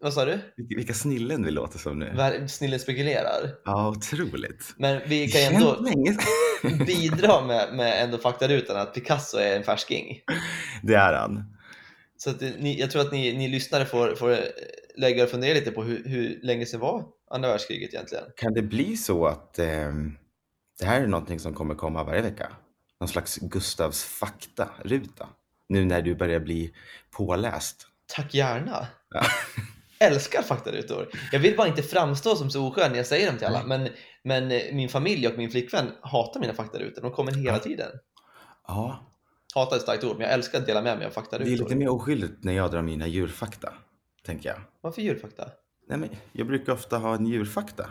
Speaker 2: Vad sa du?
Speaker 1: Vilka vilka snillen vi låter som nu.
Speaker 2: Vär- Snillen spekulerar.
Speaker 1: Ja, otroligt.
Speaker 2: Men vi
Speaker 1: Det
Speaker 2: kan ju
Speaker 1: känns
Speaker 2: ändå
Speaker 1: länge sedan.
Speaker 2: bidra med, med ändå faktarutan att Picasso är en färsking.
Speaker 1: Det är han.
Speaker 2: Så att det- ni, jag tror att ni, ni lyssnare får, får eh, lägga och fundera lite på hur, hur länge sedan var andra världskriget egentligen?
Speaker 1: Kan det bli så att ehm, det här är någonting som kommer komma varje vecka? Någon slags Gustavs fakta-ruta? Nu när du börjar bli påläst.
Speaker 2: Tack gärna!
Speaker 1: Ja.
Speaker 2: Älskar faktarutor! Jag vill bara inte framstå som så oskön när jag säger dem till alla, men, men eh, min familj och min flickvän hatar mina faktarutor. De kommer hela
Speaker 1: Ja.
Speaker 2: tiden.
Speaker 1: Ja,
Speaker 2: Hatar är ett starkt ord, men jag älskar att dela med mig av
Speaker 1: det är
Speaker 2: faktarutor.
Speaker 1: lite mer oskyldigt när jag drar mina djurfakta. tänker jag.
Speaker 2: Varför djurfakta?
Speaker 1: Nej, men jag brukar ofta ha en djurfakta.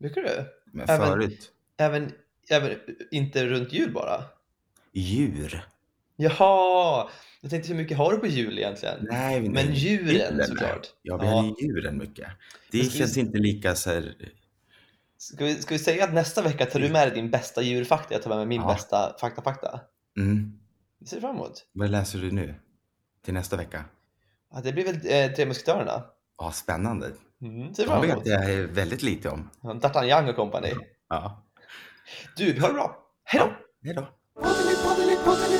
Speaker 2: Brukar du?
Speaker 1: Men
Speaker 2: Även-
Speaker 1: förut,
Speaker 2: Även, även inte runt jul bara?
Speaker 1: djur.
Speaker 2: Jaha! Jag tänkte hur mycket har du på jul egentligen?
Speaker 1: Nej, nej.
Speaker 2: Men djuren
Speaker 1: nej.
Speaker 2: såklart.
Speaker 1: Ja, vi
Speaker 2: Ja.
Speaker 1: hade ju djuren mycket. Det
Speaker 2: Men ska vi-
Speaker 1: känns inte lika så här...
Speaker 2: Ska vi, ska vi säga att nästa vecka tar du med dig din bästa djurfakta? Jag tar med mig min
Speaker 1: Ja.
Speaker 2: bästa fakta-fakta.
Speaker 1: Mm.
Speaker 2: Det ser jag fram emot.
Speaker 1: Vad läser du nu? Till nästa vecka?
Speaker 2: Ja, det blir väl eh, Tre Musketörerna.
Speaker 1: Ja, spännande.
Speaker 2: Mm, ser jag
Speaker 1: De
Speaker 2: fram emot.
Speaker 1: vet jag väldigt lite om.
Speaker 2: Ja, D'Artagnan och kompani.
Speaker 1: Ja.
Speaker 2: Du, vi har det bra. Hej då!
Speaker 1: Hej då.
Speaker 3: Poddeli, poddeli, poddeli.